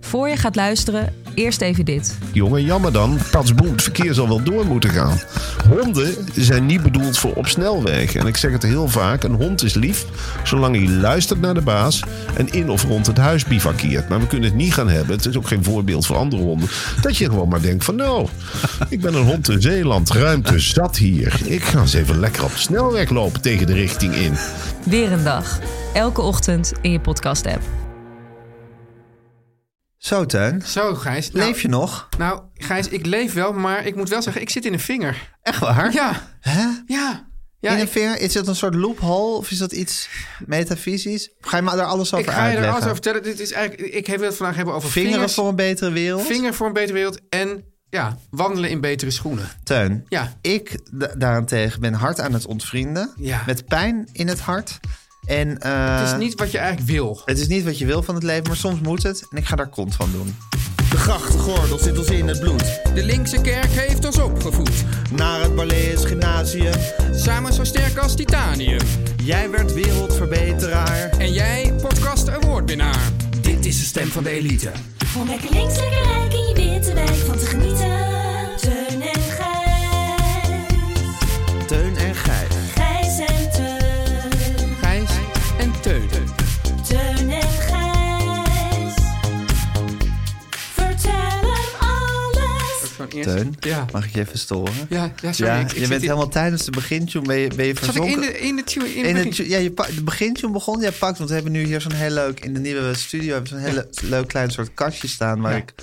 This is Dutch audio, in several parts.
Voor je gaat luisteren, eerst even dit. Jongen, jammer dan. Patsboem, het verkeer zal wel door moeten gaan. Honden zijn niet bedoeld voor op snelwegen. En ik zeg het heel vaak, een hond is lief zolang hij luistert naar de baas... en in of rond het huis bivakkeert. Maar we kunnen het niet gaan hebben, het is ook geen voorbeeld voor andere honden... dat je gewoon maar denkt van nou, ik ben een hond in Zeeland, ruimte zat hier. Ik ga eens even lekker op de snelweg lopen tegen de richting in. Weer een dag. Elke ochtend in je podcast-app. Zo, Teun. Zo, Gijs. Nou, Leef je nog? Nou, Gijs, ik leef wel, maar ik moet wel zeggen, ik zit in een vinger. Echt waar? Ja, Hè? ja. Ja, in een ik, vinger? Is dat een soort loophole of is dat iets metafysisch? Ga je me daar alles over ik ga je uitleggen? er alles over vertellen. Dit is eigenlijk, ik wil het vandaag hebben over Vingeren vingers, voor een betere wereld? vinger voor een betere wereld en ja, wandelen in betere schoenen. Teun, Ja. ik da- daarentegen ben hard aan het ontvrienden. Ja. Met pijn in het hart. En, eh, het is niet wat je eigenlijk wil. het is niet wat je wil van het leven, maar soms moet het. En ik ga daar kont van doen. De grachtengordel zit ons in het bloed. De linkse kerk heeft ons opgevoed. Naar het Balees Gymnasium. Samen zo sterk als titanium. Jij werd wereldverbeteraar. En jij, podcast awardwinnaar. Dit is de stem van de elite. Om lekker links, lekker rijk in je witte wijk van te genieten. Teun en Gijs. Teun en Gijs. Gijs en Teun. Gijs en Teun. Teun en Gijs. Vertel hem alles. Gewoon eerst- Teun, Ja. mag ik je even storen? Ja, ja sorry. Ja, ik, ik je zit bent in- helemaal tijdens de begintune ben je, ben je Zat ik verzonken. in de, in de tune? In, In de het, begin? ju- ja, je pa- de begintune begon. Jij pakt, want we hebben nu hier zo'n heel leuk... In de nieuwe studio hebben we zo'n heel le- leuk klein soort kastje staan... waar Ja. ik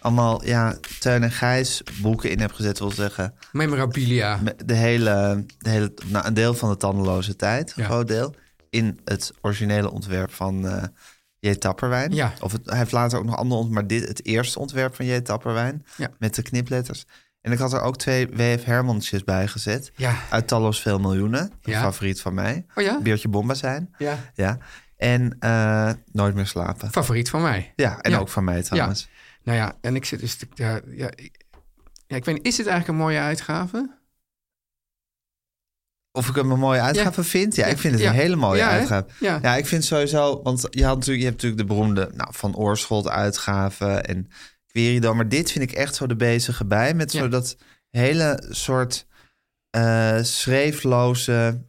allemaal ja, Teun en Gijs boeken in heb gezet. wil zeggen, Memorabilia. me- de hele, de hele, nou, een deel van de tandeloze tijd, een Ja. groot deel... in het originele ontwerp van eh J. Tapperwijn. Ja. Of het, hij heeft later ook nog andere ontwerpen... maar dit het eerste ontwerp van J. Tapperwijn Ja. met de knipletters. En ik had er ook twee W.F. Hermansjes bij gezet... Ja. uit Talloos Veel Miljoenen, een Ja. favoriet van mij. Oh ja? Beertje Bomba zijn. Ja. Ja. En eh, nooit meer slapen. Favoriet van mij. Ja, en Ja. ook van mij trouwens. Nou ja, en ik zit dus... te- Ja, ja, ik, ja, ik weet niet, is dit eigenlijk een mooie uitgave? Of ik hem een mooie uitgave vind? Ja, ik vind het Ja. een hele mooie Ja, hè? uitgave. Ja. ik vind sowieso... Want je, had natuurlijk, je hebt natuurlijk de beroemde nou, Van Oorschot uitgave en Querido. Maar dit vind ik echt zo de bezige bij. Met zo Ja. dat hele soort eh, schreefloze,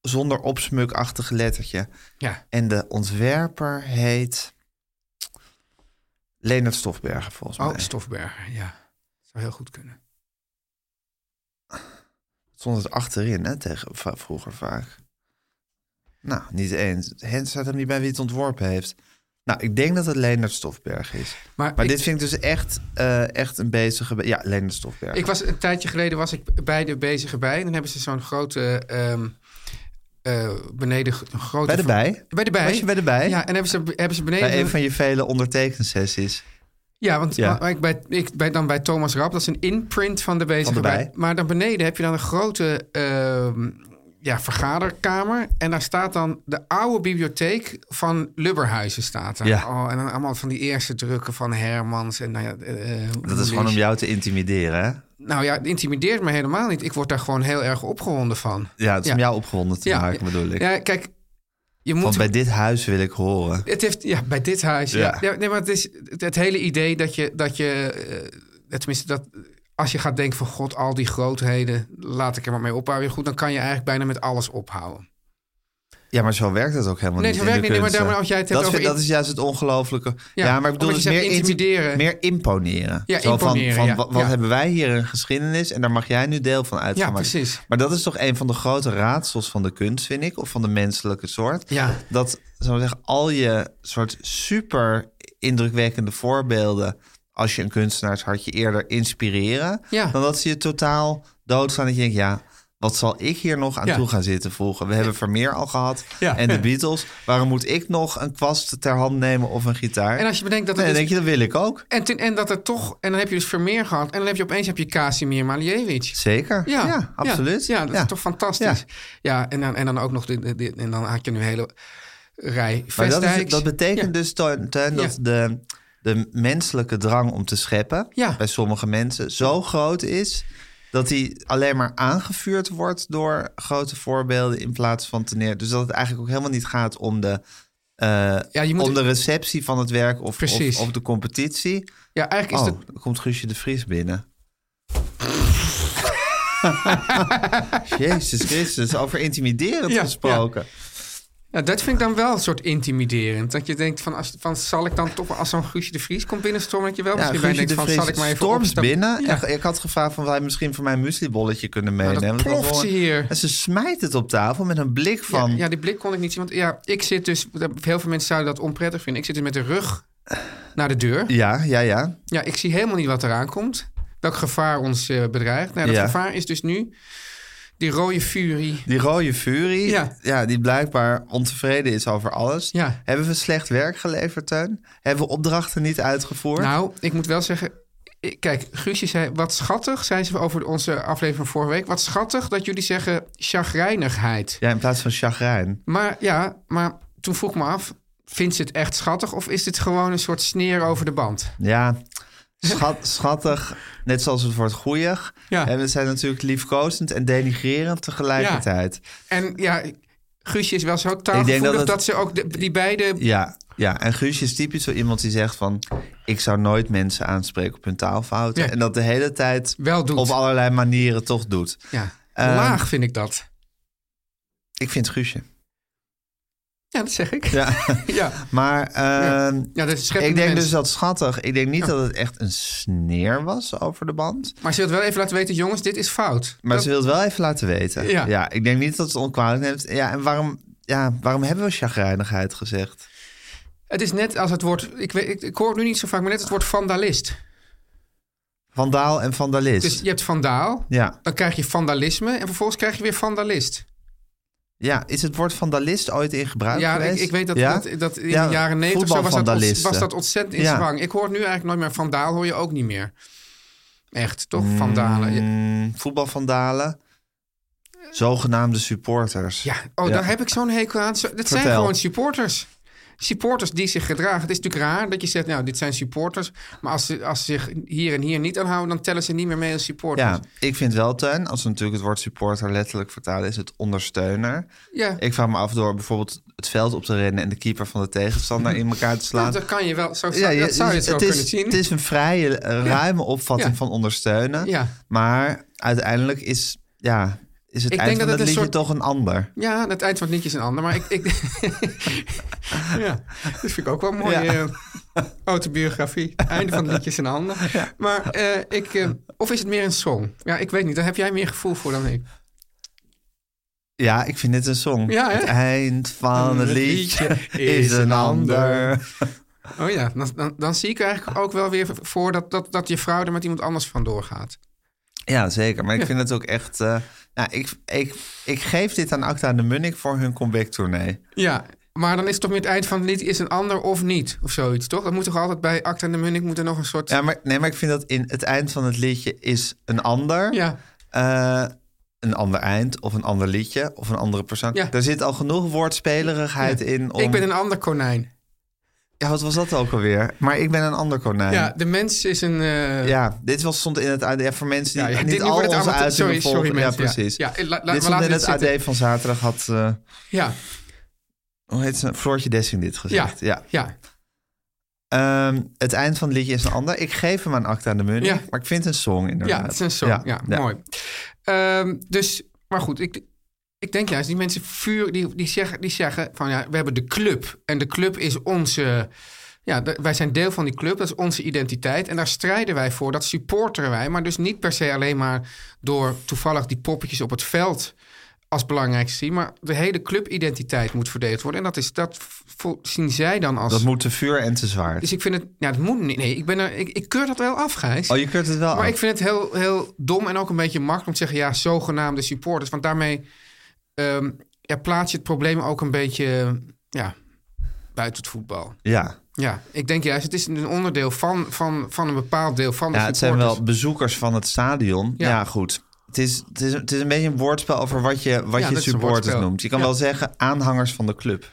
zonder opsmukachtige lettertje. Ja. En de ontwerper heet... Leonard Stofberger, volgens Oh, mij. Stofberger, ja. Zou heel goed kunnen. stond het achterin, hè, tegen, va- vroeger vaak. Nou, niet eens. Hens staat hem niet bij wie het ontworpen heeft. Nou, ik denk dat het Leonard Stofberg is. Maar, Maar ik, dit vind ik dus echt, eh, echt een bezige... be- Ja, Leonard Stofberg. ik was een tijdje geleden was ik bij de bezige bij. En dan hebben ze zo'n grote ehm, eh, beneden een grote bij de bij? bij de bij. Was je bij de bij? Ja, en hebben ze hebben ze beneden Bij een van je vele ondertekensessies. ja, want Ja. maar ik bij ik bij dan bij Thomas Rap dat is een imprint van de bezige Van de bij. Maar dan beneden heb je dan een grote ehm, ja, vergaderkamer. En daar staat dan de oude bibliotheek van Lubberhuizen. Staat daar. Ja. Oh, en dan allemaal van die eerste drukken van Hermans. En, nou ja, eh, eh, Dat is gewoon om jou te intimideren, hè? Nou ja, het intimideert me helemaal niet. Ik word daar gewoon heel erg opgewonden van. Ja, het is om Ja. jou opgewonden te maken, bedoel ik. Ja, kijk, je moet... Want bij dit huis wil ik horen. Het heeft, ja, bij dit huis. Ja. Ja. Ja, nee, maar het is het, het hele idee dat je, dat je eh, tenminste, dat als je gaat denken van god, al die grootheden, laat ik er maar mee ophouden. Goed, dan kan je eigenlijk bijna met alles ophouden. Ja, maar zo werkt het ook helemaal Nee, niet. zo in de werkt het niet, maar kunsten. daarom als jij het hebt dat, over vind- in- dat is juist het ongelooflijke. Ja, Ja, maar ik bedoel, omdat dus je meer zegt inti- intimideren. Meer imponeren. Ja, Zo van- imponeren, Van, ja. wa- wat Ja. hebben wij hier een geschiedenis en daar mag jij nu deel van uit Ja, gaan maken. precies. Maar dat is toch een van de grote raadsels van de kunst, vind ik, of van de menselijke soort. Ja. Dat, zou ik zeggen, al je soort super indrukwekkende voorbeelden, als je een kunstenaars had je eerder inspireren, Ja. dan dat ze je totaal doodslaan. Dat je denkt, ja, wat zal ik hier nog aan Ja. toe gaan zitten vroeger? We hebben Vermeer al gehad Ja. en de Beatles. Waarom moet ik nog een kwast ter hand nemen of een gitaar? En als je bedenkt dat Nee, het dan is- denk je, dat wil ik ook. en, ten- en dat er toch, en dan heb je dus Vermeer gehad, en dan heb je opeens heb je Casimir Malievich. Zeker. Ja, absoluut. Ja, dat is toch fantastisch. Ja, en, dan, en dan ook nog, dit, dit- dit- en dan had je nu een hele rij Maar dat, is- Vestdijks. dat betekent Ja. dus, Teun, Teun, dat Ja. de, de menselijke drang om te scheppen Ja. bij sommige mensen zo groot is dat die alleen maar aangevuurd wordt door grote voorbeelden in plaats van te neer. Dus dat het eigenlijk ook helemaal niet gaat om de, eh, Ja, je moet- om de receptie van het werk of, of, Precies. of de competitie. Ja, eigenlijk oh, is dat... dan komt Guusje de Vries binnen. Jezus Christus, over intimiderend Ja, gesproken. Ja, dat vind ik dan wel een soort intimiderend. Dat je denkt van, als, van zal ik dan toch, als zo'n Guusje de Vries komt binnenstormen, dat je wel Ja, misschien bij Guusje denkt de Vries van, zal ik maar even stormt opstappen? binnen. Ja. Nou, En ik had gevraagd van, wij misschien voor mijn mueslibolletje kunnen dat meenemen. Want ploft hoor- ze hier. En ze smijt het op tafel met een blik van... Ja, ja, die blik kon ik niet zien. Want ja, ik zit dus, heel veel mensen zouden dat onprettig vinden. Ik zit dus met de rug naar de deur. ja, ja, ja. Ja, ik zie helemaal niet wat eraan komt. Welk gevaar ons eh, bedreigt. Nou, dat Ja. gevaar is dus nu die rode furie. Die rode furie, ja. Ja. die blijkbaar ontevreden is over alles. Ja. Hebben we slecht werk geleverd, Teun? Hebben we opdrachten niet uitgevoerd? Nou, ik moet wel zeggen. ik- Kijk, Guusje zei wat schattig, zei ze over onze aflevering van vorige week. Wat schattig dat jullie zeggen chagrijnigheid. Ja, in plaats van chagrijn. Maar ja, maar toen vroeg ik me af, vindt ze het echt schattig of is dit gewoon een soort sneer over de band? Ja, schat, schattig, net zoals het woord goeieg. Ja. En we zijn natuurlijk liefkozend en denigrerend tegelijkertijd. En ja, Guusje is wel zo Ik denk taalgevoelig dat dat, het- ze ook de- die beide... Ja, ja. en Guusje is typisch zo iemand die zegt van... ik zou nooit mensen aanspreken op hun taalfouten. Ja. En dat de hele tijd Wel doet. op allerlei manieren toch doet. Ja, Ehm, laag vind ik dat. Ik vind Guusje. Ja, dat zeg ik. Ja. Ja, maar Ja. ehm, ja dat is ik denk dus dat schattig. Ik denk niet dat het echt een sneer was over de band. Maar ze wil wel even laten weten, jongens, dit is fout. Maar Dat- ze wil het wel even laten weten. Ja. ik denk niet dat ze het onkwalijk neemt. Ja, en waarom, ja, waarom hebben we chagrijnigheid gezegd? Het is net als het woord... Ik, weet, ik, ik hoor het nu niet zo vaak, maar net het woord vandalist. Vandaal en vandalist. Dus je hebt vandaal, ja. dan krijg je vandalisme... en vervolgens krijg je weer vandalist. ja, is het woord vandalist ooit in gebruik Ja, geweest? ik, ik weet dat, Ja? dat, dat in Ja, de jaren negentig zo was, dat ont- voetbalvandalisten. was dat ontzettend in Ja. zwang. Ik hoor het nu eigenlijk nooit meer. Vandaal hoor je ook niet meer. Echt, toch? Vandalen. Ja, Mm, voetbalvandalen. Zogenaamde supporters. Ja, oh, Ja. daar heb ik zo'n hekel aan. Zo- Dat zijn Vertel. gewoon supporters. Supporters die zich gedragen. Het is natuurlijk raar dat je zegt, nou, dit zijn supporters. Maar als ze, als ze zich hier en hier niet aan houden, dan tellen ze niet meer mee als supporters. Ja, ik vind wel, Teun, als we natuurlijk het woord supporter letterlijk vertalen, is het ondersteuner. Ja. Ik vraag me af door bijvoorbeeld het veld op te rennen en de keeper van de tegenstander in elkaar te Nou, slaan. dat kan je wel. Zo, Ja, je- dus dat zou je zo het kunnen is, zien. Het is een vrije, eh, ruime opvatting Ja. van ondersteunen. Ja. Maar uiteindelijk is, ja, is het Ik eind denk van dat het het een liedje soort- toch een ander. Ja, aan het eind van het liedje is een ander. Maar ik... ik ja, dat vind ik ook wel een mooie Ja. eh, autobiografie. Einde van het liedje is een ander. Maar eh, ik... eh, of is het meer een song? Ja, ik weet niet. Daar heb jij meer gevoel voor dan ik. Ja, ik vind dit een song. Ja, hè? het eind van het liedje is een ander. Oh ja, dan, dan, dan zie ik eigenlijk ook wel weer voor dat, dat, dat je vrouw er met iemand anders vandoor gaat. Ja, zeker. Maar ik Ja. vind het ook echt... eh, nou, ik, ik, ik geef dit aan Acta en de Munnik voor hun comeback tournee. Ja, maar dan is het toch meer het eind van het lied is een ander of niet, of zoiets, toch? Dat moet toch altijd bij Acta en de Munnik moet er nog een soort... Ja, maar, nee, maar ik vind dat in het eind van het liedje is een ander. ja. Eh, een ander eind of een ander liedje of een andere persoon. Ja. Daar zit al genoeg woordspelerigheid in. Om... Ik ben een ander konijn. Ja, wat was dat ook alweer? Maar ik ben een ander konijn. Ja, de mens is een... eh, Ja, dit was, stond in het AD ja, voor mensen ja, die ja, niet dit- nu al wordt het onze amateur- uitingen sorry, sorry, volgen. ja, mensen, ja. precies. Ja, la- la- dit we stond laten in het dit zitten. AD van zaterdag. Had, eh, ja, hoe heet ze? Floortje Dessing dit gezegd. Ja. ja. Ehm, het eind van het liedje is een ander. Ik geef hem aan Acta aan de Munich. Ja. Maar ik vind het een song inderdaad. Ja, het is een song. Ja, mooi. Ehm, dus, maar goed, ik, ik denk juist, die mensen vuur, die, die, zeggen, die zeggen van ja, we hebben de club. En de club is onze. Ja, de- wij zijn deel van die club, dat is onze identiteit. En daar strijden wij voor, dat supporteren wij. Maar dus niet per se alleen maar door toevallig die poppetjes op het veld als belangrijk te zien. Maar de hele clubidentiteit moet verdedigd worden. En dat, is, dat vo- zien zij dan als... Dat moet te vuur en te zwaard. Dus ik vind het... Ja, dat moet niet. Nee, ik, ben er, ik, ik keur dat wel af, Gijs. Oh, je kunt het wel Maar af. ik vind het heel, heel dom en ook een beetje makkelijk om te zeggen... ja, zogenaamde supporters. Want daarmee ehm, ja, plaats je het probleem ook een beetje ja, buiten het voetbal. Ja. Ja, ik denk juist, het is een onderdeel van, van, van een bepaald deel van de ja, het zijn supporters. wel bezoekers van het stadion. Ja, Ja. goed. Het is, het, is, het is een beetje een woordspel over wat je, wat Ja, je dat is een supporters woordspel. noemt. Je kan Ja. wel zeggen aanhangers van de club.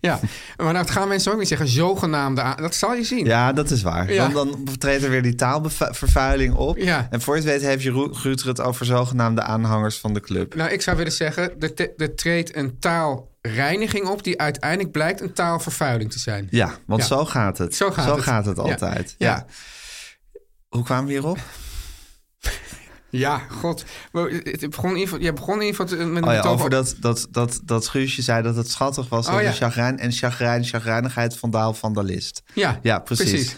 Ja, maar dat gaan mensen ook niet zeggen. Zogenaamde... a- Dat zal je zien. Ja, dat is waar. Ja. Dan, dan treedt er weer die taalvervuiling op. Ja. En voor je het weet heeft Jeroen Guter het over zogenaamde aanhangers van de club. Nou, ik zou willen zeggen, er, te- er treedt een taalreiniging op... die uiteindelijk blijkt een taalvervuiling te zijn. Ja, want Ja. zo gaat het. Zo gaat het. Ja. altijd. Ja. Ja. Hoe kwamen we hierop? Ja, god. Maar Het begon in ieder geval- jij begon in ieder geval te- met Oh een ja, betoog over op- dat, dat, dat, dat Guusje zei dat het schattig was Oh over ja. chagrijn. En chagrijn, chagrijnigheid, vandaal, vandalist. Ja, Ja, precies.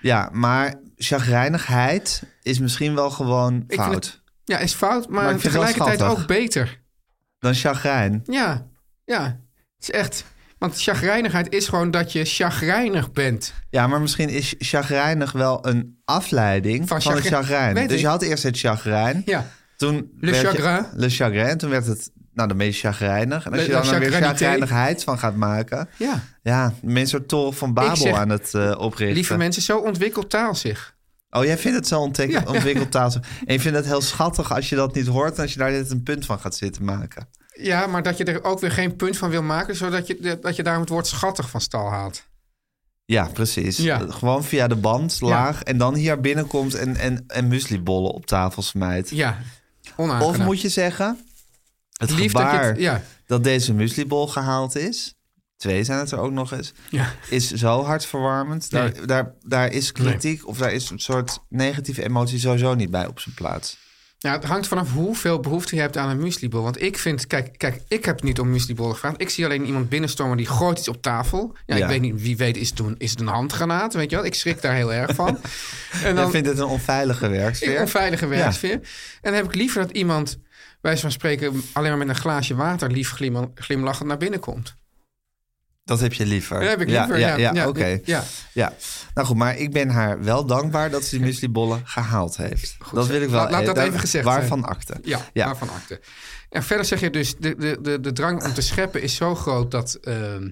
Ja, maar chagrijnigheid is misschien wel gewoon vind fout. het- Ja, is fout, maar, Maar ik vind het wel tegelijkertijd schattig. ook beter. Dan chagrijn. Ja, ja. Het is echt... Want chagrijnigheid is gewoon dat je chagrijnig bent. Ja, maar misschien is chagrijnig wel een afleiding van, Van het chagrijn. chagrijn. Weet dus ik. je had eerst het chagrijn. Ja. Toen Le werd je- chagrin. le chagrin. Toen werd het, nou dan ben je chagrijnig. En als Le- je dan la er weer chagrinité. chagrijnigheid van gaat maken. Ja. Ja, dan ben je een soort tol van Babel zeg, aan het eh, oprichten. Lieve mensen, zo ontwikkelt taal zich. Oh, jij vindt het zo ontdek- Ja. ontwikkeld taal. En je vindt het heel schattig als je dat niet hoort... en als je daar net een punt van gaat zitten maken. Ja, maar dat je er ook weer geen punt van wil maken... zodat je, dat je daarom het woord schattig van stal haalt. Ja, precies. Ja. Eh, Gewoon via de band, laag. En dan hier binnenkomt en, en, en mueslibollen op tafel smijt. Ja, onaangenaam. of moet je zeggen... Het Lief dat je gebaar het- dat, ja. deze mueslibol gehaald is... twee zijn het er ook nog eens... Ja. is zo hartverwarmend. Daar, Nee. daar, daar is kritiek of daar is een soort negatieve emotie... sowieso niet bij op zijn plaats. Ja, Nou, het hangt vanaf hoeveel behoefte je hebt aan een mueslibol. Want ik vind, kijk, kijk ik heb niet om mueslibollen gevraagd. Ik zie alleen iemand binnenstormen die gooit iets op tafel. Ja, Ja. ik weet niet, wie weet is het, een, is het een handgranaat, weet je wel. Ik schrik daar heel erg van. en Ik dan vind het een onveilige werksfeer. een onveilige werksfeer. En dan heb ik liever dat iemand, wijs van spreken, alleen maar met een glaasje water lief glim, glimlachend naar binnen komt. Dat heb je liever. Dat heb ik liever, ja. ja, ja, oké. ja. Ja. Nou goed, maar ik ben haar wel dankbaar dat ze die mueslibollen gehaald heeft. dat zo. wil ik wel. Laat- laat dat daar- even gezegd Waarvan akte. Ja, Ja. waarvan acte. En verder zeg je dus, de, de, de, de drang om te scheppen is zo groot dat... ehm,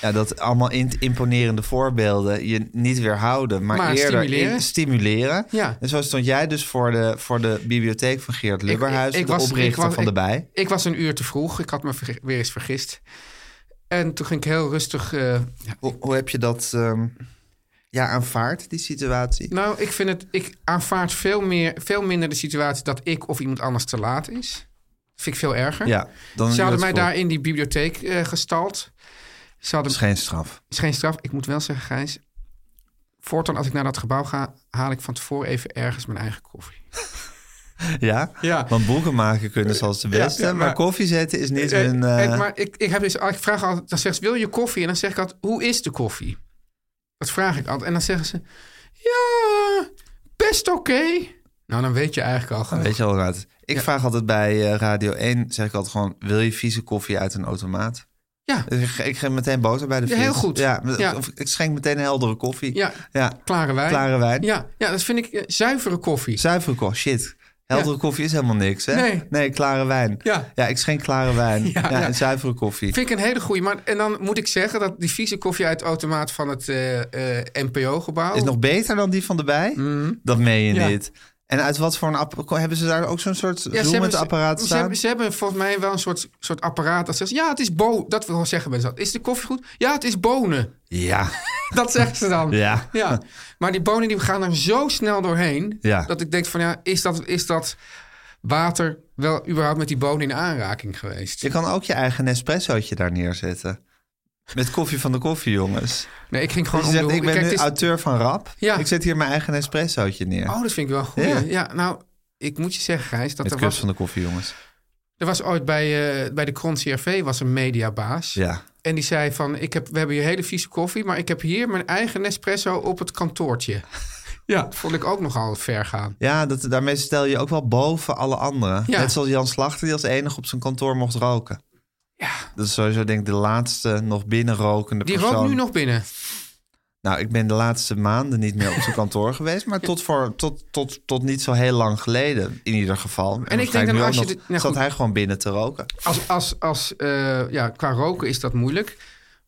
Ja, dat allemaal in, imponerende voorbeelden je niet weerhouden, maar, Maar eerder stimuleren. in- stimuleren. Ja. En zo stond jij dus voor de, voor de bibliotheek van Geert Lubberhuis, de oprichter ik was- van de ik- bij. Ik was een uur te vroeg. Ik had me verge- weer eens vergist. En toen ging ik heel rustig. eh, ja. Hoe, hoe heb je dat ehm, ja, aanvaard, die situatie? Nou, ik vind het. Ik aanvaard veel, meer, veel minder de situatie dat ik of iemand anders te laat is. Dat vind ik veel erger. Ja, dan Ze hadden mij daar daar in die bibliotheek eh, gestald. Ze hadden is geen straf. is geen straf. Ik moet wel zeggen, Gijs. Voortaan als ik naar dat gebouw ga, haal ik van tevoren even ergens mijn eigen koffie. Ja? Ja. Want boeken maken kunnen ze als de beste, ja, maar, maar- koffie zetten is niet Eh, hun... eh, en- maar ik, ik, heb dus, ik vraag altijd, dan zegt ze, wil je koffie? En dan zeg ik altijd, hoe is de koffie? Dat vraag ik altijd. En dan zeggen ze, ja, best oké. Nou, dan weet je eigenlijk al Dan genoeg. Weet je al raad. Ik vraag altijd bij eh, Radio 1, zeg ik altijd gewoon... wil je vieze koffie uit een automaat? Ja. Dus ik, ge- ik geef meteen boter bij de Ja, vis. heel goed. Ja, met- Ja. Of ik schenk meteen een heldere koffie. Ja, Ja, klare wijn. klare wijn. Ja, ja, dat vind ik eh, zuivere koffie. Zuivere koffie, shit. Heldere koffie is helemaal niks, hè? Nee. klare wijn. Ja. ik schenk klare wijn. Ja, Ja, ja. en zuivere koffie. Vind ik een hele goeie. Maar, en dan moet ik zeggen dat die vieze koffie uit de automaat van het eh, eh, NPO-gebouw... Is nog beter dan die van de bij? Dat meen je Mm. Ja. niet. En uit wat voor een app hebben ze daar ook zo'n soort Zoom-apparaat ze, staan? hebben, ze hebben volgens mij wel een soort, soort apparaat dat zegt... Ja, het is bo. Dat wil zeggen mensen dat. Is de koffie goed? Ja, het is bonen. Ja, Dat zeggen ze dan. ja. Ja, maar die bonen die gaan er zo snel doorheen... Ja. dat ik denk van ja, is dat, is dat water wel überhaupt met die bonen in aanraking geweest? Je kan ook je eigen Nespressootje daar neerzetten. Met koffie van de koffie, jongens. nee, ik ging Dus gewoon je om de zegt, hoek. ik ben Kijk, nu het is- auteur van rap. Ja. Ik zet hier mijn eigen Nespressootje neer. Oh, dat vind ik wel goed. Ja. Ja. nou, ik moet je zeggen, Gijs, dat Met er kus was, van de koffie, jongens. er was ooit bij, eh, bij de Kron CRV was een mediabaas. Ja. En die zei van, ik heb, we hebben hier hele vieze koffie... maar ik heb hier mijn eigen Nespresso op het kantoortje. ja. Dat vond ik ook nogal ver gaan. Ja, dat, daarmee stel je je ook wel boven alle anderen. Ja. Net zoals Jan Slachter, die als enige op zijn kantoor mocht roken. Ja. Dat is sowieso denk ik de laatste nog binnenrokende Die persoon. rookt nu nog binnen. Nou, ik ben de laatste maanden niet meer op zijn kantoor geweest. Maar tot, voor, tot, tot, tot niet zo heel lang geleden in ieder geval. En, ik denk waarschijnlijk dat nu als ook je nog dit- nou zat goed. hij gewoon binnen te roken. Als, als, als, eh, ja, qua roken is dat moeilijk.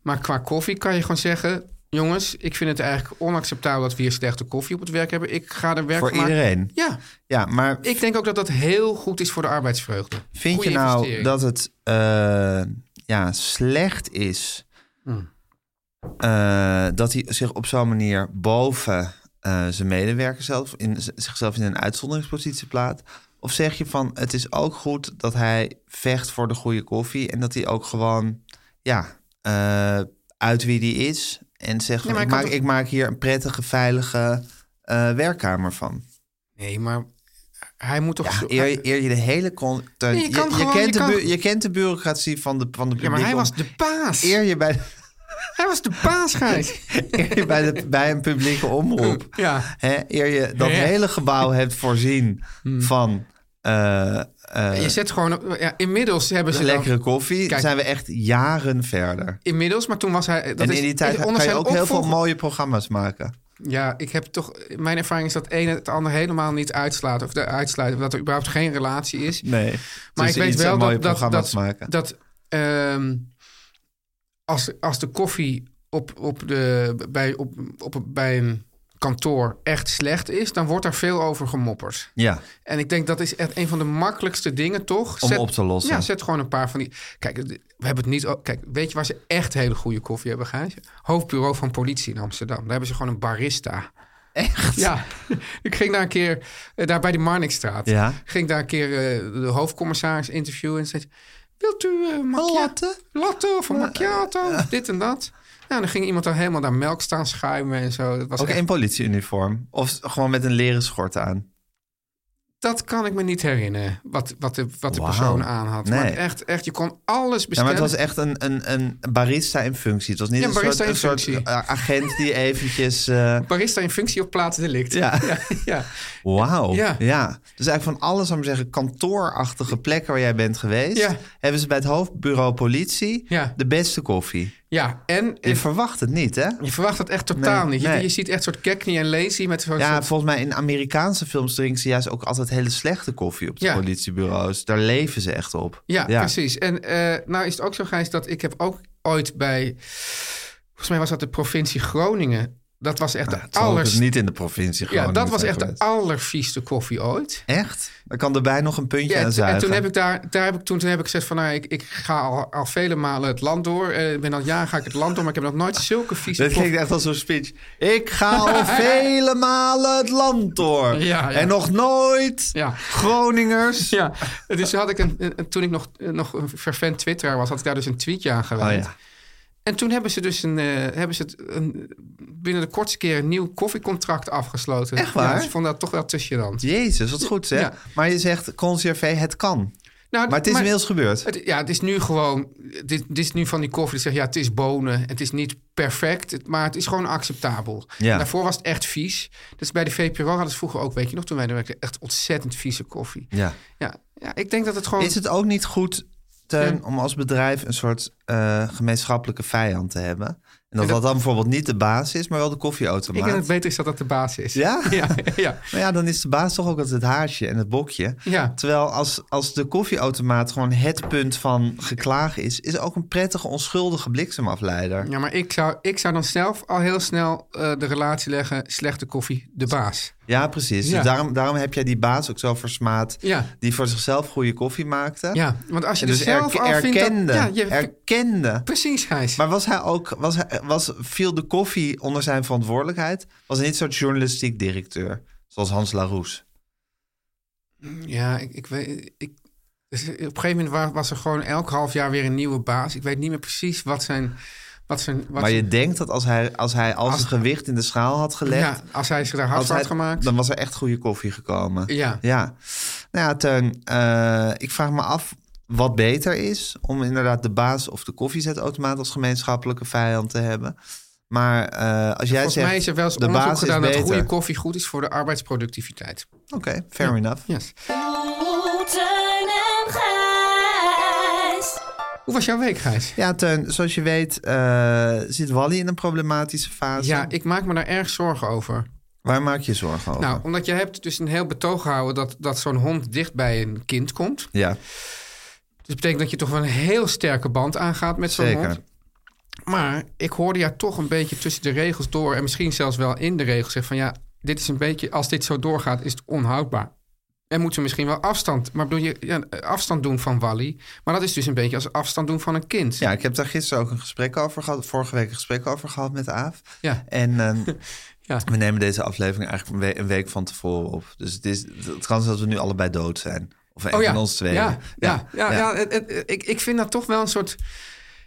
Maar qua koffie kan je gewoon zeggen... jongens, ik vind het eigenlijk onacceptabel... dat we hier slechte koffie op het werk hebben. Ik ga er werk Voor van maken. iedereen. Ja, Ja, maar ik denk ook dat dat heel goed is voor de arbeidsvreugde. vind Goeie je nou investering. dat het eh, ja, slecht is eh, dat hij zich op zo'n manier boven eh, zijn medewerker zelf in, z- zichzelf in een uitzonderingspositie plaat? Of zeg je van het is ook goed dat hij vecht voor de goede koffie en dat hij ook gewoon ja, eh, uit wie die is en zegt van, Nee, maar ik, hij maak, kan ik maak hier een prettige, veilige eh, werkkamer van. Nee, maar hij moet toch... zo- Ja, eer, eer je de hele... Con- te- Nee, je je, kan je gewoon- kent je de kan- bu- je kent de bureaucratie van de, van de Ja, maar hij was publiek om- de baas. Eer je bij, Hij was de baas, Gijs. eer je bij, de, bij een publieke omroep... ja. Hè, eer je dat Ja. Hmm. hele gebouw hebt voorzien van... eh, eh, Je zet gewoon... op- Ja, inmiddels hebben ze... lekkere dan- koffie, Kijk. zijn we echt jaren verder. inmiddels, maar toen was hij... Dat en is, in die tijd onder kan je zijn ook heel veel opvolger- mooie programma's maken. Ja, ik heb toch... Mijn ervaring is dat het een het ander helemaal niet uitslaat. Of de uitsluit. Dat er überhaupt geen relatie is. Nee. Maar ik weet wel mooie dat... dat, programma's dat, maken. dat ehm, als, als de koffie op, op, de, bij, op, op, bij een kantoor echt slecht is... dan wordt daar veel over gemopperd. ja, En ik denk dat is echt een van de makkelijkste dingen, toch? om op te lossen. Ja, zet gewoon een paar van die. Kijk, d- we hebben het niet. o- Kijk, weet je waar ze echt hele goede koffie hebben, Gijs? Hoofdbureau van politie in Amsterdam. Daar hebben ze gewoon een barista. Echt? Ja. Ik ging daar een keer, eh, daar bij de Marnixstraat. Ja. Ging daar een keer eh, de hoofdcommissaris interviewen en zei: Wilt u eh Een macchia- latte? latte of een macchiato? Of dit en dat. Nou, dan ging iemand dan helemaal daar melk staan schuimen en zo. Dat was Ook echt- in politieuniform. Of gewoon met een leren schort aan. Dat kan ik me niet herinneren, wat, wat de, wat de Wauw. persoon aan had. Nee. Maar echt, echt, je kon alles Ja, maar bestellen. het was echt een, een, een barista in functie. Het was niet Ja, een, barista soort, in een soort functie. eh, agent die eventjes... eh, Barista in functie op plaatsdelict. Ja. ja, ja. Wauw. Ja. Ja. Dus eigenlijk van alles, zou ik maar zeggen, kantoorachtige plekken waar jij bent geweest... Ja. hebben ze bij het hoofdbureau politie Ja. de beste koffie. Ja, en Je je, verwacht het niet, hè? verwacht dat echt totaal Nee, niet. Je, nee. je ziet echt soort Cagney en Lazy met zo'n Ja, soort- volgens mij in Amerikaanse films drinken ze juist ook altijd hele slechte koffie op de Ja. politiebureaus. Daar leven ze echt op. Ja, precies. En eh, nou is het ook zo, Gijs, dat ik heb ook ooit bij... Volgens mij was dat de provincie Groningen. Dat was echt Nou, de terwijl ik aller... dus niet in de provincie Ja, Groningen dat was zijn echt de geweest. allervieste koffie ooit. Echt? Dan kan erbij nog een puntje Ja, aan en, zuigen. en toen heb ik daar, daar heb ik, toen, toen heb ik gezegd van, nou, ik, ik ga al, al vele malen het land door. Eh, Ik ben al jaren ga ik het land door, maar ik heb nog nooit zulke vieze Dat koffie. klinkt echt als zo'n speech. Ik ga al vele malen het land door. Ja, ja. En nog nooit Ja. Groningers. Ja, dus toen had ik een, een- toen ik nog, nog een vervent twitteraar was, had ik daar dus een tweetje aan gewijd. Oh ja. En toen hebben ze dus een, eh, hebben ze het, een, binnen de kortste keer een nieuw koffiecontract afgesloten. Echt waar? Ja, dus ik vond dat toch wel tussen je hand. Jezus, wat goed zeg. Ja. Maar je zegt, conservé, het kan. Nou, Maar het is inmiddels gebeurd. het- ja, het is nu gewoon, dit, dit is nu van die koffie die zegt, ja, het is bonen. Het is niet perfect, het- maar het is gewoon acceptabel. Ja. En Daarvoor was het echt vies. Dus bij de VPRO hadden ze vroeger ook, weet je nog, toen wij er werkten, echt ontzettend vieze koffie. Ja. Ja, ja ik denk dat het gewoon... Is het ook niet goed, Teun, Ja. om als bedrijf een soort eh, gemeenschappelijke vijand te hebben? En dat dat- dat dan bijvoorbeeld niet de baas is, maar wel de koffieautomaat. ik denk dat het beter is dat dat de baas is. Ja? Ja, ja. Maar ja, dan is de baas toch ook altijd het haartje en het bokje. Ja. Terwijl als, als de koffieautomaat gewoon het punt van geklaag is... is ook een prettige, onschuldige bliksemafleider. Ja, maar ik zou, ik zou dan zelf al heel snel eh, de relatie leggen... slechte koffie, de baas. Ja, precies. Ja. Dus daarom, daarom heb jij die baas ook zo versmaad. Ja. Die voor zichzelf goede koffie maakte. Ja, want als je En er dus zelf erke- al vindt dat- erkende. ja, je- erkende. Precies, Gijs. Maar was hij ook, was hij, was, viel de koffie onder zijn verantwoordelijkheid? Was hij niet zo'n journalistiek directeur? Zoals Hans Laroes. Ja, ik, ik weet... Ik, dus op een gegeven moment wa- was er gewoon elk half jaar weer een nieuwe baas. Ik weet niet meer precies wat zijn... Wat zijn wat maar je zijn- denkt dat als hij, als hij al Als- zijn gewicht in de schaal had gelegd... ja, als hij zich daar hard als van hij- had gemaakt. dan was er echt goede koffie gekomen. ja. Ja. Nou ja, Teun, eh, ik vraag me af wat beter is... om inderdaad de baas of de koffiezetautomaat als gemeenschappelijke vijand te hebben. Maar eh, als jij Volgens zegt, mij is er wel eens de onderzoek baas gedaan is dat beter. goede koffie goed is voor de arbeidsproductiviteit. Oké, fair enough. Yes. Oeh, Teun en Gijs. Hoe was jouw week, Gijs? Ja, Teun, zoals je weet eh, zit Wally in een problematische fase. Ja, ik maak me daar erg zorgen over. Waar maak je zorgen over? Nou, omdat je hebt dus een heel betoog gehouden dat, dat zo'n hond dicht bij een kind komt. Dus ja, dat betekent dat je toch wel een heel sterke band aangaat met zo'n zeker. hond. Maar ik hoorde jou toch een beetje tussen de regels door... en misschien zelfs wel in de regels zeggen van... ja, dit is een beetje, als dit zo doorgaat, is het onhoudbaar. En moeten we misschien wel afstand... maar bedoel je, ja, afstand doen van Wally... maar dat is dus een beetje als afstand doen van een kind. Ja, ik heb daar gisteren ook een gesprek over gehad. Vorige week een gesprek over gehad met Aaf. Ja. En ehm, Ja. we nemen deze aflevering eigenlijk een, we- een week van tevoren op. Dus het, is, het kan zijn dat we nu allebei dood zijn. Of een Oh ja. van ons twee. Ja, ja, ja, ja. het- het- ik, ik vind dat toch wel een soort.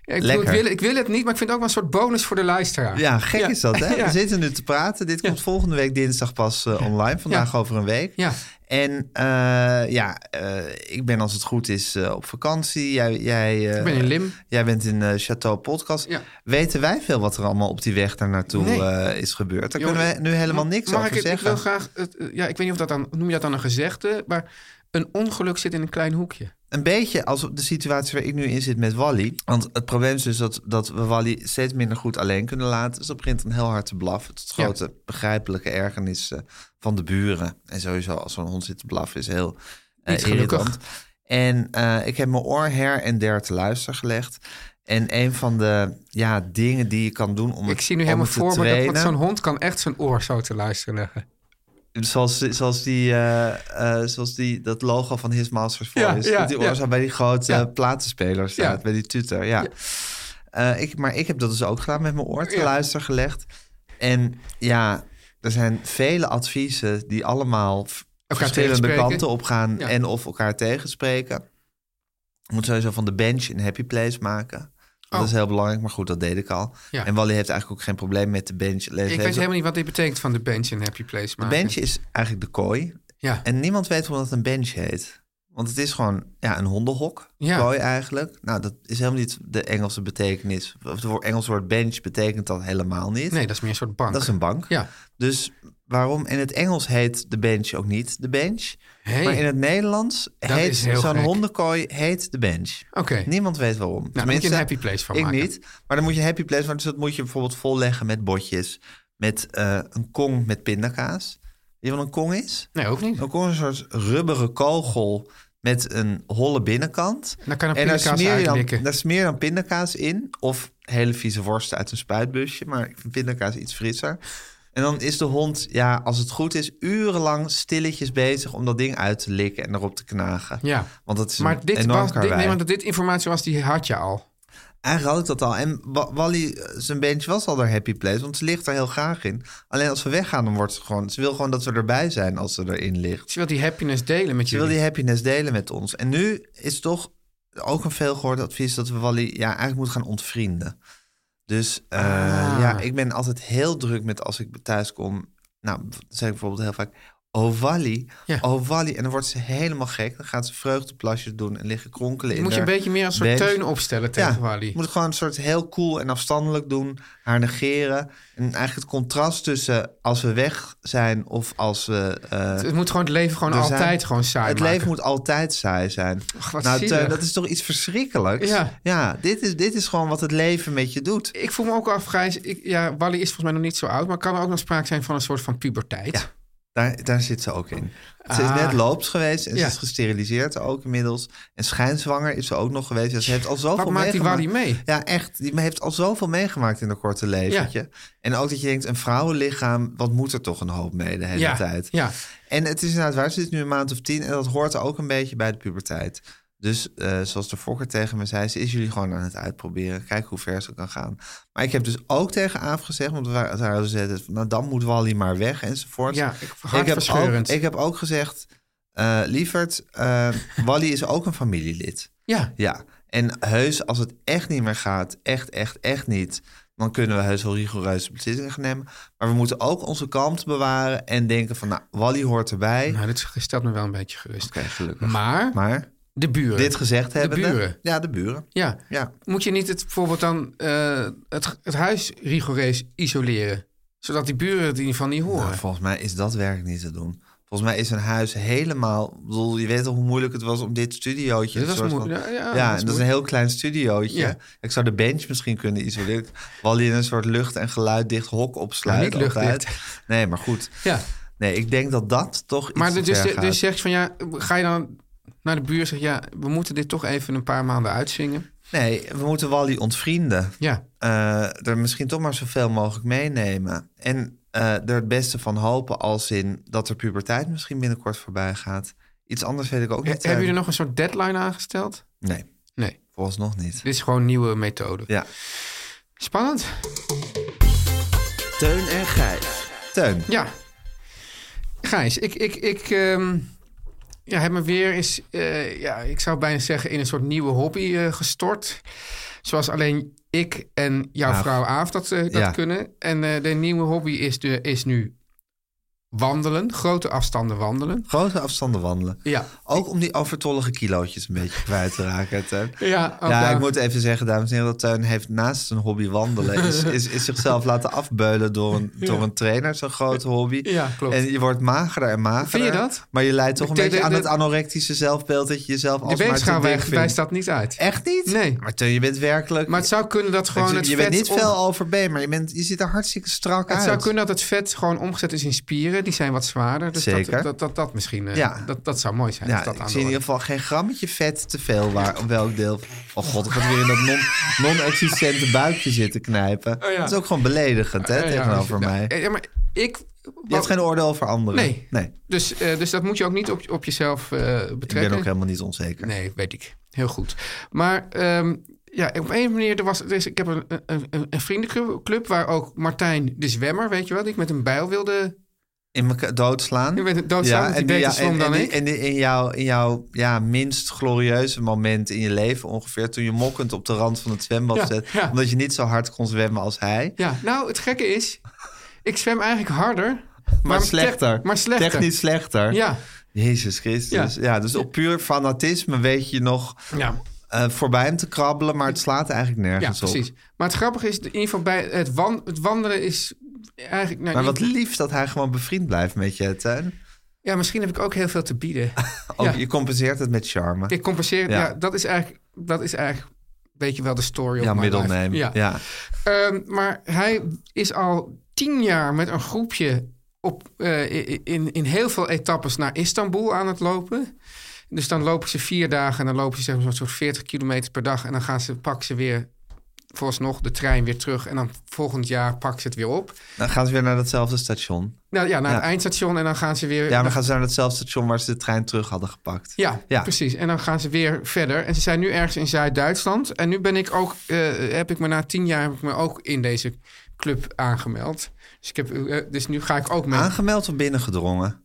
Ik, bedoel, ik, Lekker. wil, ik wil het niet, maar ik vind het ook wel een soort bonus voor de luisteraar. Ja, gek Ja. is dat, hè? Ja. We zitten nu te praten. Dit komt volgende week dinsdag pas eh, online. Vandaag Ja. over een week. Ja. En eh, ja, eh, ik ben als het goed is eh, op vakantie. Jij, jij, eh, Ik ben in Lim. Jij bent in eh, Chateau Podcast. Ja. Weten wij veel wat er allemaal op die weg daar naartoe Nee. eh, is gebeurd? Daar Jongen, kunnen we nu helemaal niks Mag over ik, het- zeggen. Ik wil graag. het- eh, ja, ik weet niet of dat dan. Noem je dat dan een gezegde? Maar een ongeluk zit in een klein hoekje. Een beetje als op de situatie waar ik nu in zit met Wally. Want het probleem is dus dat, dat we Wally steeds minder goed alleen kunnen laten. Dus dat begint dan heel hard te blaffen. Tot Ja. grote begrijpelijke ergernis eh, van de buren. En sowieso als zo'n hond zit te blaffen is heel eh, Niet gelukkig. irritant. En eh, ik heb mijn oor her en der te luisteren gelegd. En een van de ja, dingen die je kan doen om ik het- zie nu om helemaal het te voor me dat- dat trainen- zo'n hond kan echt zijn oor zo te luisteren leggen. Zoals, zoals, die, eh, eh, zoals die, dat logo van His Masters Ja, Voice. ja, dat die ja. oorzaal bij die grote Ja. eh, platenspeler staat. Ja. Bij die tutor, ja. Eh, ik, maar ik heb dat dus ook gedaan met mijn oor te Ja. luisteren gelegd. En ja, er zijn vele adviezen die allemaal v- verschillende tegenspreken. kanten opgaan. Ja. En of elkaar tegenspreken. Je moet sowieso van de bench een happy place maken. Dat Oh. is heel belangrijk, maar goed, dat deed ik al. Ja. En Wally heeft eigenlijk ook geen probleem met de bench. Ik weet helemaal niet wat dit betekent van de bench in Happy Place. de maken. bench is eigenlijk de kooi. Ja. En niemand weet hoe dat een bench heet. Want het is gewoon ja, een hondenhok, Ja. kooi eigenlijk. Nou, dat is helemaal niet de Engelse betekenis. Of het woord- Engelse woord bench betekent dat helemaal niet. Nee, dat is meer een soort bank. Dat is een bank. Ja. Dus waarom in het Engels heet de bench ook niet de bench? Hey. Maar in het Nederlands heet is heel zo'n gek. hondenkooi heet de bench. Oké. Nou, Niemand weet waarom. dan moet je een happy place van ik maken. niet. Maar dan moet je een happy place maken. Dus dat moet je bijvoorbeeld volleggen met botjes. Met eh, een kong met pindakaas. Weet je wat een kong is? Nee, ook niet. Ook gewoon een soort rubberen kogel met een holle binnenkant. Dan kan er en daar pindakaas smeer, je dan, uitlikken. daar smeer je dan pindakaas in. Of hele vieze worsten uit een spuitbusje. Maar ik vind pindakaas iets frisser. En dan is de hond, ja, als het goed is, urenlang stilletjes bezig om dat ding uit te likken en erop te knagen. Ja. Want dat is Maar een dit, enorm was, dit, karwei. nee, want dit informatie was, die had je al. Eigenlijk had ik dat al. En Wa- Wally, eh, zijn bench was al haar happy place, want ze ligt er heel graag in. Alleen als we weggaan, dan wordt ze gewoon... Ze wil gewoon dat we erbij zijn als ze erin ligt. Ze wil Dus die happiness delen met Ze wil jullie. die happiness delen met ons. En nu is toch ook een veelgehoord advies dat we Wally ja, eigenlijk moeten gaan ontvrienden. Dus eh, Ah. ja, ik ben altijd heel druk met als ik thuis kom. Nou, dan zeg ik bijvoorbeeld heel vaak, oh Wally, Ja. oh Wally. En dan wordt ze helemaal gek. Dan gaat ze vreugdeplasjes doen en liggen kronkelen in moet je een haar beetje meer als soort bench. teun opstellen tegen Ja, Wally. moet het gewoon een soort heel cool en afstandelijk doen. Haar negeren. En eigenlijk het contrast tussen als we weg zijn of als we... eh, het moet gewoon het leven gewoon er zijn. altijd gewoon saai het maken. leven moet altijd saai zijn. Ach, wat nou, zielig. Teun, dat is toch iets verschrikkelijks? Ja. dit, is, dit is gewoon wat het leven met je doet. Ik voel me ook af, Gijs. Ik, ja, Wally is volgens mij nog niet zo oud, maar kan er ook nog sprake zijn van een soort van puberteit? Ja. Daar, daar zit ze ook in. Ze is Ah. net loops geweest en Ja. ze is gesteriliseerd ook inmiddels. En schijnzwanger is ze ook nog geweest. Ja, ze heeft al zoveel Wat maakt die meegemaakt. Wally mee? Ja, echt. Die heeft al zoveel meegemaakt in een korte leventje. En ook dat je denkt, een vrouwenlichaam, wat moet er toch een hoop mee de hele ja, tijd? ja. En het is inderdaad waar, ze is nu een maand of tien en dat hoort ook een beetje bij de puberteit. Dus eh, zoals de Fokker tegen me zei, ze is jullie gewoon aan het uitproberen. Kijk hoe ver ze kan gaan. Maar ik heb dus ook tegen Aaf gezegd, want we waren- ze hadden gezegd, van, nou dan moet Wally maar weg enzovoort. ja ik, heb ook, hartverscheurend. ik heb ook gezegd, eh lieverd, eh, Wally is ook een familielid. ja, Ja, en heus, als het echt niet meer gaat, echt, echt, echt niet, dan kunnen we heus wel rigoureuze beslissingen gaan nemen. Maar we moeten ook onze kalmte bewaren en denken van, nou, Wally hoort erbij. nou, dit stelt me wel een beetje gerust. Oké, gelukkig. Maar Maar de buren. dit gezegd hebben buren. Ja, de buren. ja. Ja. Moet je niet het, bijvoorbeeld dan eh, het, het huis rigoureus isoleren? Zodat die buren het in ieder geval niet horen. Nou, volgens mij is dat werk niet te doen. Volgens mij is een huis helemaal... ik bedoel, je weet toch hoe moeilijk het was om dit studiootje... Dat een was soort van- moe- ja, ja, ja, dat en is dat is een moe- heel klein studiootje. Ja. Ik zou de bench misschien kunnen isoleren. Wel in een soort lucht- en geluiddicht hok opsluiten. Nou, niet altijd. luchtdicht. Nee, maar goed. ja. Nee, ik denk dat dat toch iets Maar te dus, dus, ver gaat. dus zeg je van ja, ga je dan naar de buur en zeg je, ja, we moeten dit toch even een paar maanden uitzingen? Nee, we moeten Wally ontvrienden. Ja, eh, er misschien toch maar zoveel mogelijk meenemen. En eh, er het beste van hopen als in dat er puberteit misschien binnenkort voorbij gaat. Iets anders weet ik ook He- niet. eh, hebben jullie er nog een soort deadline aangesteld? Nee, Nee, volgens nog niet. dit is gewoon een nieuwe methode. Ja. Spannend. Teun en Gijs. Teun, Ja. Gijs, ik, ik, ik ehm, ja, heb me weer eens, eh, ja, ik zou bijna zeggen, in een soort nieuwe hobby eh, gestort. Zoals alleen ik en jouw Aaf. vrouw Aaf dat, eh, dat Ja. kunnen. En eh, de nieuwe hobby is, de, is nu wandelen, grote afstanden wandelen. grote afstanden wandelen. Ja, Ook om die overtollige kilootjes een beetje kwijt te raken, Teun. ja, ook Ja, daar. ik moet even zeggen, dames en heren, dat Teun heeft naast zijn hobby wandelen... is, is, is zichzelf laten afbeulen door een, door een trainer, zo'n grote hobby. Ja, klopt. En je wordt magerder en magerder. Vind je dat? Maar je leidt toch een De- beetje de- aan de- het anorectische zelfbeeld... dat je jezelf de alsmaar te weegschaal dik wijst, vindt. wijst dat niet uit. Echt niet? Nee. Maar Teun, je bent werkelijk... Maar het zou kunnen dat Ik gewoon zeg, het je vet... bent niet om- veel over B, maar je, bent, je ziet er hartstikke strak Het uit. zou kunnen dat het vet gewoon omgezet is in spieren. Die zijn wat zwaarder. Dus Zeker. Dat, dat, dat, dat misschien... eh, Ja. dat, dat zou mooi zijn. als Ja, dat ik aan zie in de ieder orde- geval geen grammetje vet te veel waar, op welk deel. Oh god, ik had weer in dat non- non-existente buikje zitten knijpen. Oh ja. Dat is ook gewoon beledigend, hè, Ja, ja, tegenover dus- mij. nou, ja, maar ik... Je hebt geen oordeel over anderen. Nee. dus, eh, dus dat moet je ook niet op, op jezelf eh, Ik betrekken. ben ook helemaal niet onzeker. Nee, weet ik. Heel goed. Maar ehm, ja, op een manier, er was, er is, ik heb een, een, een, een vriendenclub waar ook Martijn de Zwemmer, weet je wel, die ik met een bijl wilde... In elkaar doodslaan. Je bent het doodslaan, want die beter zwom en, dan en, ik. en die- in jouw, in jouw ja, minst glorieuze moment in je leven ongeveer... toen je mokkend op de rand van het zwembad Ja, zat... ja. omdat je niet zo hard kon zwemmen als hij. Ja, nou, het gekke is, ik zwem eigenlijk harder... Maar, te- slechter. Maar slechter. Technisch slechter. Ja, Jezus Christus. Ja. Ja. dus op puur fanatisme weet je nog ja. eh, voorbij hem te krabbelen... maar het slaat eigenlijk Ja, nergens precies. op. Maar het grappige is, in ieder geval bij het, wan- het wandelen is eigenlijk... Nou, Maar in- wat lief dat hij gewoon bevriend blijft met je, Tuin. Ja, misschien heb ik ook heel veel te bieden. Ook, Ja. Je compenseert het met charme. ik compenseer het. Ja. Ja. dat is eigenlijk... Dat is eigenlijk weet je wel de story ja, of my middelneem. life. Ja. Ja. Ehm, maar hij is al tien jaar met een groepje op, eh, i- in, in heel veel etappes naar Istanbul aan het lopen. Dus dan lopen ze vier dagen en dan lopen ze zeg maar, zo'n soort 40 kilometer per dag. En dan gaan ze, pakken ze weer, vooralsnog, de trein weer terug. En dan volgend jaar pakken ze het weer op. Dan gaan ze weer naar datzelfde station. Nou ja, naar Ja. het eindstation en dan gaan ze weer... Ja, maar dan gaan ze naar datzelfde station waar ze de trein terug hadden gepakt. Ja, Ja. precies. En dan gaan ze weer verder. En ze zijn nu ergens in Zuid-Duitsland. En nu ben ik ook, eh, heb ik me na tien jaar heb ik me ook in deze club aangemeld. Dus, ik heb, eh, dus nu ga ik ook mee. Aangemeld of binnengedrongen?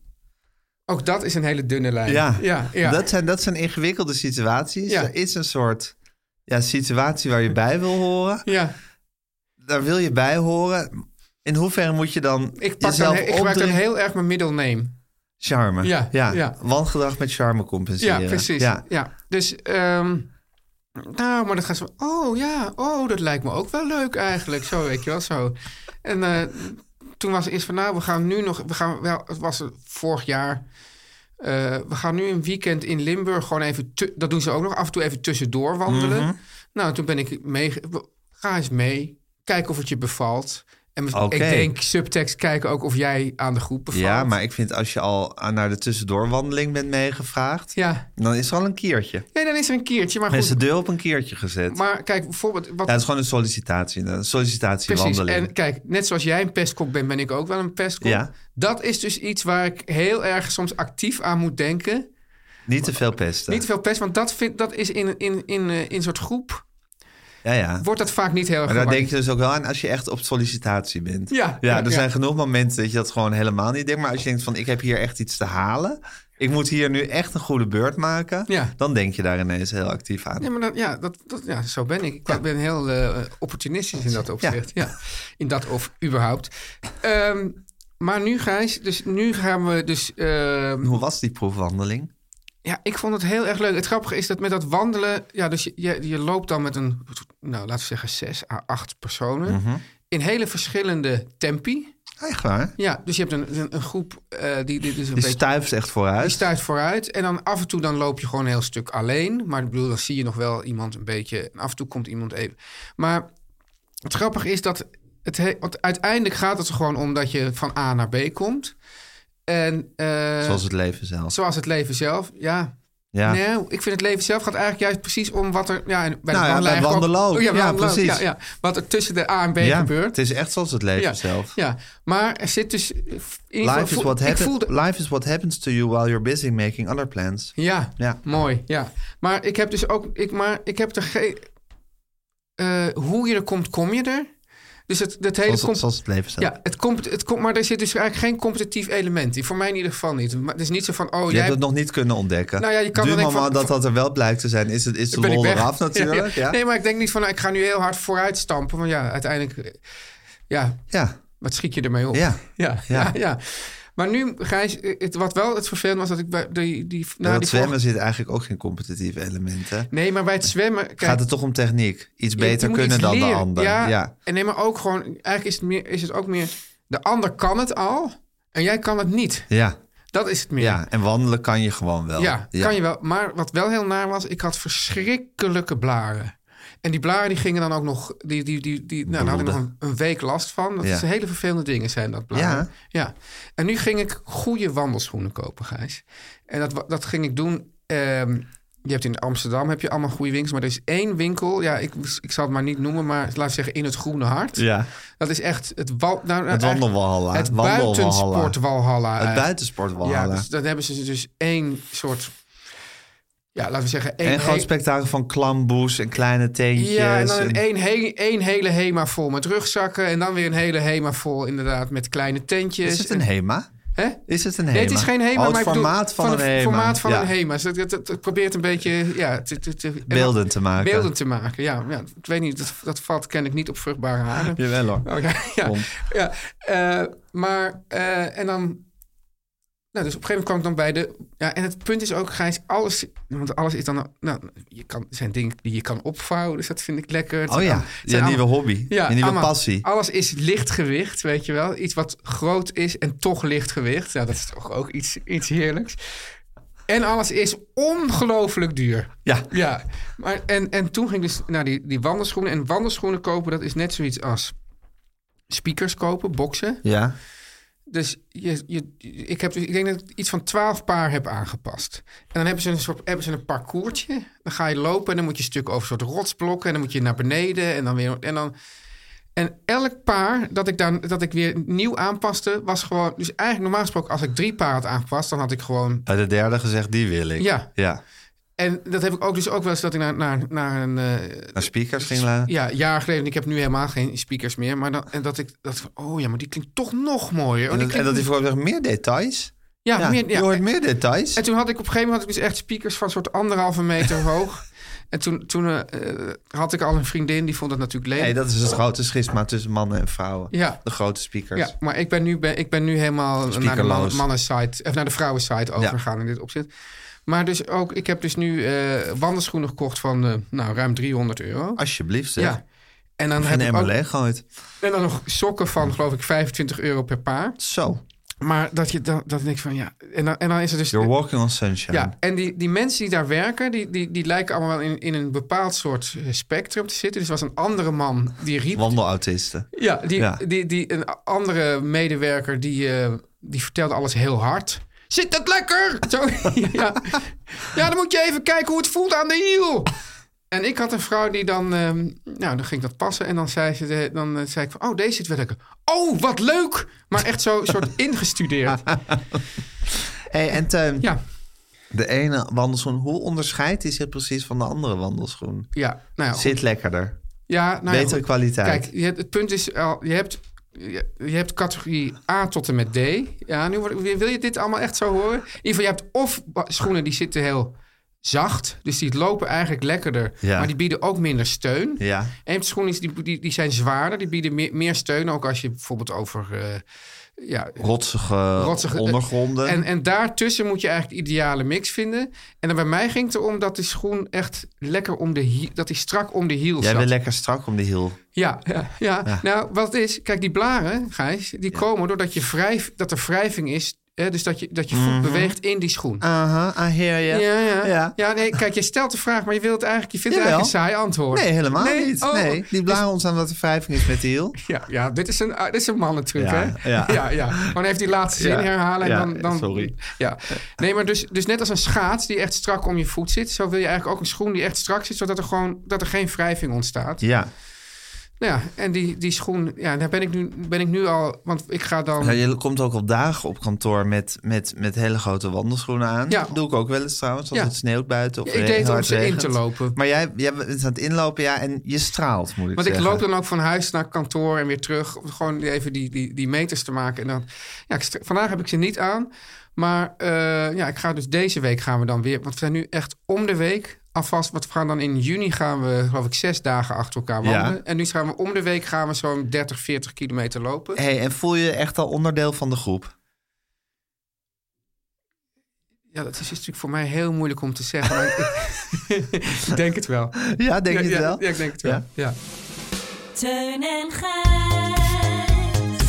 ook dat is een hele dunne lijn. Ja, ja, ja. Dat, zijn, dat zijn ingewikkelde situaties. Ja. Er is een soort ja, situatie waar je bij wil horen. ja. Daar wil je bij horen. In hoeverre moet je dan Ik, pak dan, jezelf he- ik gebruik dan opdringen? heel erg mijn middelneem. Charme. Ja, ja. Wangedrag met charme compenseren. Ja, precies. Ja. eh, Ja. Dus, ehm, nou, maar dan gaan ze van, oh ja, oh, dat lijkt me ook wel leuk eigenlijk. Zo, weet je wel, zo. En eh, toen was het eerst van, nou, we gaan nu nog, we gaan wel, het was vorig jaar. eh, we gaan nu een weekend in Limburg gewoon even, tu- dat doen ze ook nog, af en toe even tussendoor Mhm. wandelen. Nou, toen ben ik mee, ga eens mee, kijk of het je bevalt. En met- Oké. ik denk subtekst kijken ook of jij aan de groep bevalt. Ja, maar ik vind als je al aan- naar de tussendoorwandeling bent meegevraagd, Ja, dan is er al een kiertje. nee, dan is er een keertje. Maar Mensen goed, de deur op een kiertje gezet. maar kijk, bijvoorbeeld... ja, Wat, het is gewoon een sollicitatie, een Precies. sollicitatiewandeling. En kijk, net zoals jij een pestkok bent, ben ik ook wel een pestkok. Ja. Dat is dus iets waar ik heel erg soms actief aan moet denken. Niet te veel pesten. Niet te veel pest, want dat, vind, dat is in, in, in, eh, in soort groep... Ja, ja. wordt dat vaak niet heel erg Maar daar denk je gewaardeerd. dus ook wel aan als je echt op sollicitatie bent. Ja, ja, ja, er ja. zijn genoeg momenten dat je dat gewoon helemaal niet denkt. Maar als je denkt van, ik heb hier echt iets te halen. Ik moet hier nu echt een goede beurt maken. Ja. Dan denk je daar ineens heel actief aan. Ja, maar dat, ja, dat, dat, ja, zo ben ik. Ik ben heel eh, opportunistisch in dat opzicht. Ja. In dat of überhaupt. Ehm, maar nu, Gijs, dus nu gaan we dus... ehm, Hoe was die proefwandeling? Ja, ik vond het heel erg leuk. Het grappige is dat met dat wandelen... Ja, dus je, je, je loopt dan met een, nou, laten we zeggen, zes à acht personen... Mhm. in hele verschillende tempi. Echt waar? Ja, dus je hebt een, een, een groep eh, die, die dus een Die beetje... stuift echt Die vooruit. stuit vooruit. En dan af en toe dan loop je gewoon een heel stuk alleen. Maar ik bedoel, dan zie je nog wel iemand een beetje. En af en toe komt iemand even. Maar het grappige is dat. Het he- want uiteindelijk gaat het er gewoon om dat je van A naar B komt. En eh, Zoals het leven zelf. zoals het leven zelf. Ja. Ja. Nee, ik vind het leven zelf gaat eigenlijk juist precies om wat er. Ja, en bij Nou ja, wandelen bij eigenlijk wandelen ook. bij Ja, wandelen ook. precies. Ja, ja. Wat er tussen de A en B Ja, gebeurt. Het is echt zoals het leven Ja. zelf. Ja, maar er zit dus. in ieder geval Life is, voel- what ik happen- voelde- Life is what happens to you while you're busy making other plans. Ja, Ja. mooi. Ja. Maar ik heb dus ook. Ik, maar ik heb er geen. eh, hoe je er komt, kom je er. Dus het, dat hele. Zoals, comp- zoals het leven zelf. ja, het komt, het komt, maar er zit dus eigenlijk geen competitief element in. Voor mij in ieder geval niet. Maar het is niet zo van. Oh, je jij hebt het nog niet kunnen ontdekken. Nou ja, je kan nu wel denken moment van- dat dat er wel blijkt te zijn, is, het, is de ben ik lol weg. eraf natuurlijk. Ja, ja. Nee, maar ik denk niet van. nou, ik ga nu heel hard vooruit stampen. Want ja, uiteindelijk. eh, Ja, ja. wat schiet je ermee op? ja. ja, ja. ja. Maar nu, Gijs, eh, het, wat wel het vervelend was dat ik bij die. die na dat die zwemmen vorige- zit eigenlijk ook geen competitief element. Hè? Nee, maar bij het zwemmen. Kijk, Gaat het toch om techniek? Iets Je- je beter moet kunnen iets dan de leren. ander. Ja, Ja. En nee, maar ook gewoon, eigenlijk is het, meer, is het ook meer, de ander kan het al en jij kan het niet. Ja. Dat is het meer. Ja. en wandelen kan je gewoon wel. Ja, kan je wel. Maar wat wel heel naar was, ik had verschrikkelijke blaren. En die blaren die gingen dan ook nog, die, die, die, die, nou, daar had ik nog een, een week last van. Dat Ja. is hele vervelende dingen zijn dat blaren. Ja. En nu ging ik goede wandelschoenen kopen, Gijs. En dat, wa- dat ging ik doen. ehm, je hebt in Amsterdam heb je allemaal goede winkels, maar er is één winkel. Ja, ik, ik zal het maar niet noemen, maar laat ik zeggen in het Groene Hart. Ja. Dat is echt het, wal, nou, Het nou, eigenlijk wandelwalhalla. het Wandelwalhalla. buitensportwalhalla. Het eh. Ja, buitensportwalhalla. dus dan hebben ze dus één soort. Ja, laten we zeggen. Één en gewoon he- spektakel van klamboes en kleine teentjes. Ja, en dan een en- één, he- één hele Hema vol met rugzakken. En dan weer een hele Hema vol inderdaad met kleine tentjes. Is het een En- HEMA? Hè? Is het een HEMA? Nee, het is geen Hema, Oh, het maar ik bedoel, formaat van, een HEMA. formaat van Ja. een Hema. Dus het, het, het- het probeert een beetje ja, te, te, te- en dan- Beelden te maken. beelden te maken. Ja, ja, ik weet niet, dat, dat valt kennelijk niet op vruchtbare aarde. Jawel hoor. Oh, ja, ja. Kom. ja. Eh, maar, eh, en dan... Nou, dus op een gegeven moment kwam ik dan bij de... Ja, en het punt is ook, Gijs, alles... Want alles is dan... Nou, je kan, zijn dingen die je kan opvouwen, dus dat vind ik lekker. Het Oh zijn ja, allemaal- het zijn je nieuwe allemaal- hobby. je nieuwe allemaal. passie. Alles is lichtgewicht, weet je wel. Iets wat groot is en toch lichtgewicht. Nou, dat is toch ook iets, iets heerlijks. En alles is ongelooflijk duur. Ja. Ja, maar en, en toen ging ik dus naar die, die wandelschoenen. En wandelschoenen kopen, dat is net zoiets als speakers kopen, boksen. Ja. Dus je, je, ik, heb, dus- ik denk dat ik iets van twaalf paar heb aangepast. En dan hebben ze een soort hebben ze een parcoursje. Dan ga je lopen en dan moet je een stuk over een soort rotsblokken. En dan moet je naar beneden en dan weer... En, dan, en elk paar dat ik, dan, dat ik weer nieuw aanpaste, was gewoon... Dus eigenlijk normaal gesproken, als ik drie paar had aangepast... dan had ik gewoon... Bij de derde gezegd, die wil ik. Ja, Ja. en dat heb ik ook dus ook wel eens dat ik naar, naar, naar een... eh, Naar speakers ging laten. Ja, jaar geleden. Ik heb nu helemaal geen speakers meer. Maar dan, en dat ik dat van, oh ja, maar die klinkt toch nog mooier. Oh, En dat, en die klinkt, dat die vrouw zegt, meer details? ja, meer, Je hoort ja. meer details? En toen had ik op een gegeven moment had ik dus echt speakers van soort anderhalve meter hoog. En toen, toen eh, eh, had ik al een vriendin die vond dat natuurlijk lelijk. Nee, dat is het grote schisma tussen mannen en vrouwen. Ja. De grote speakers. ja, maar ik ben nu, ben, ik ben nu helemaal naar de Speakerloos. man- mannen-site, of naar de vrouwen-site overgegaan in dit opzicht. Maar dus ook, ik heb dus nu eh, wandelschoenen gekocht van eh, nou, ruim 300 euro. Ah, Alsjeblieft zeg. Ja. En dan En heb ik Emma ook, Leeghooit. en dan nog sokken van geloof ik 25 euro per paar. Zo. Maar dat je dan, dat ik van ja. En dan, en dan is er dus. You're walking on sunshine. Ja, en die, die mensen die daar werken, die, die, die lijken allemaal wel in, in een bepaald soort eh, spectrum te zitten. Dus er was een andere man die riep. Wandelautisten. Ja, die, Ja. Die, die, een andere medewerker die, eh, die vertelde alles heel hard. Zit dat lekker? Zo, ja. ja, dan moet je even kijken hoe het voelt aan de hiel. En ik had een vrouw die dan, ehm, nou, dan ging ik dat passen. En dan zei, ze, de- dan eh, zei ik van, oh, deze zit wel lekker. Oh, wat leuk! Maar echt zo soort ingestudeerd. Hey, en Teun, Ja, de ene wandelschoen, hoe onderscheidt die zich precies van de andere wandelschoen? ja. Nou ja, goed. Zit lekkerder. ja, nou ja, Betere goed. kwaliteit. Kijk, je hebt- het punt is, al, je, hebt, je, je hebt categorie A tot en met D. Ja, nu word- wil je dit allemaal echt zo horen? In ieder geval, je hebt of ba- schoenen die zitten heel zacht. Dus die lopen eigenlijk lekkerder. Ja. Maar die bieden ook minder steun. Ja. En je hebt schoenen die, die, die zijn zwaarder. Die bieden meer, meer steun. Ook als je bijvoorbeeld over... eh, ja, Rotsige, eh, Rotsige- ondergronden. en, en daartussen moet je eigenlijk de ideale mix vinden. En dan bij mij ging het erom dat die schoen echt lekker om de hiel... dat die strak om de hiel Jij zat. bent lekker strak om de hiel. Ja, ja, ja. nou wat het is, kijk, die blaren, Gijs, die komen doordat je wrijf, dat er wrijving is. Hè, dus dat je, dat je voet beweegt in die schoen. Aha, I hear you. ja, ja. Mhm. Ah, ja. ja. nee, kijk, je stelt de vraag, maar je, wilt eigenlijk, je vindt Jawel. eigenlijk een saai antwoord. Nee, helemaal Nee? niet. Oh. nee, die blaren ontstaan omdat er wrijving is met de hiel. Ja, ja dit is een, ah, dit is een mannentruc, Ja, hè? ja. Ja, ja. Gewoon even die laatste zin Ja, herhalen. En ja, dan, dan, sorry. Ja. Nee, maar dus, dus net als een schaats die echt strak om je voet zit... zo wil je eigenlijk ook een schoen die echt strak zit... zodat er, gewoon, dat er geen wrijving ontstaat. Ja. Nou ja, en die, die schoen, ja, daar ben ik, nu, ben ik nu al... Want ik ga dan... Nou, je komt ook op dagen op kantoor met, met, met hele grote wandelschoenen aan. Ja. Dat doe ik ook wel eens trouwens, als Ja. het sneeuwt buiten. Of Ik re- deed het om hard ze in regent. te lopen. Maar jij, jij bent aan het inlopen, ja, en je straalt, moet ik Want ik zeggen. loop dan ook van huis naar kantoor en weer terug. om Gewoon even die, die, die meters te maken. En dan, ja, ik stra- vandaag heb ik ze niet aan. Maar eh, ja, ik ga dus deze week gaan we dan weer. Want we zijn nu echt om de week alvast. Want we gaan dan in juni gaan we, geloof ik, zes dagen achter elkaar Ja. wandelen. En nu gaan we om de week gaan we zo'n 30, 40 kilometer lopen. Hey, en voel je je echt al onderdeel van de groep? Ja, dat is dus natuurlijk voor mij heel moeilijk om te zeggen. Maar ik, ik denk het wel. Ja, denk ja, je het ja, wel? Ja, ik denk het wel. Ja. Ja. Teun en Gijs.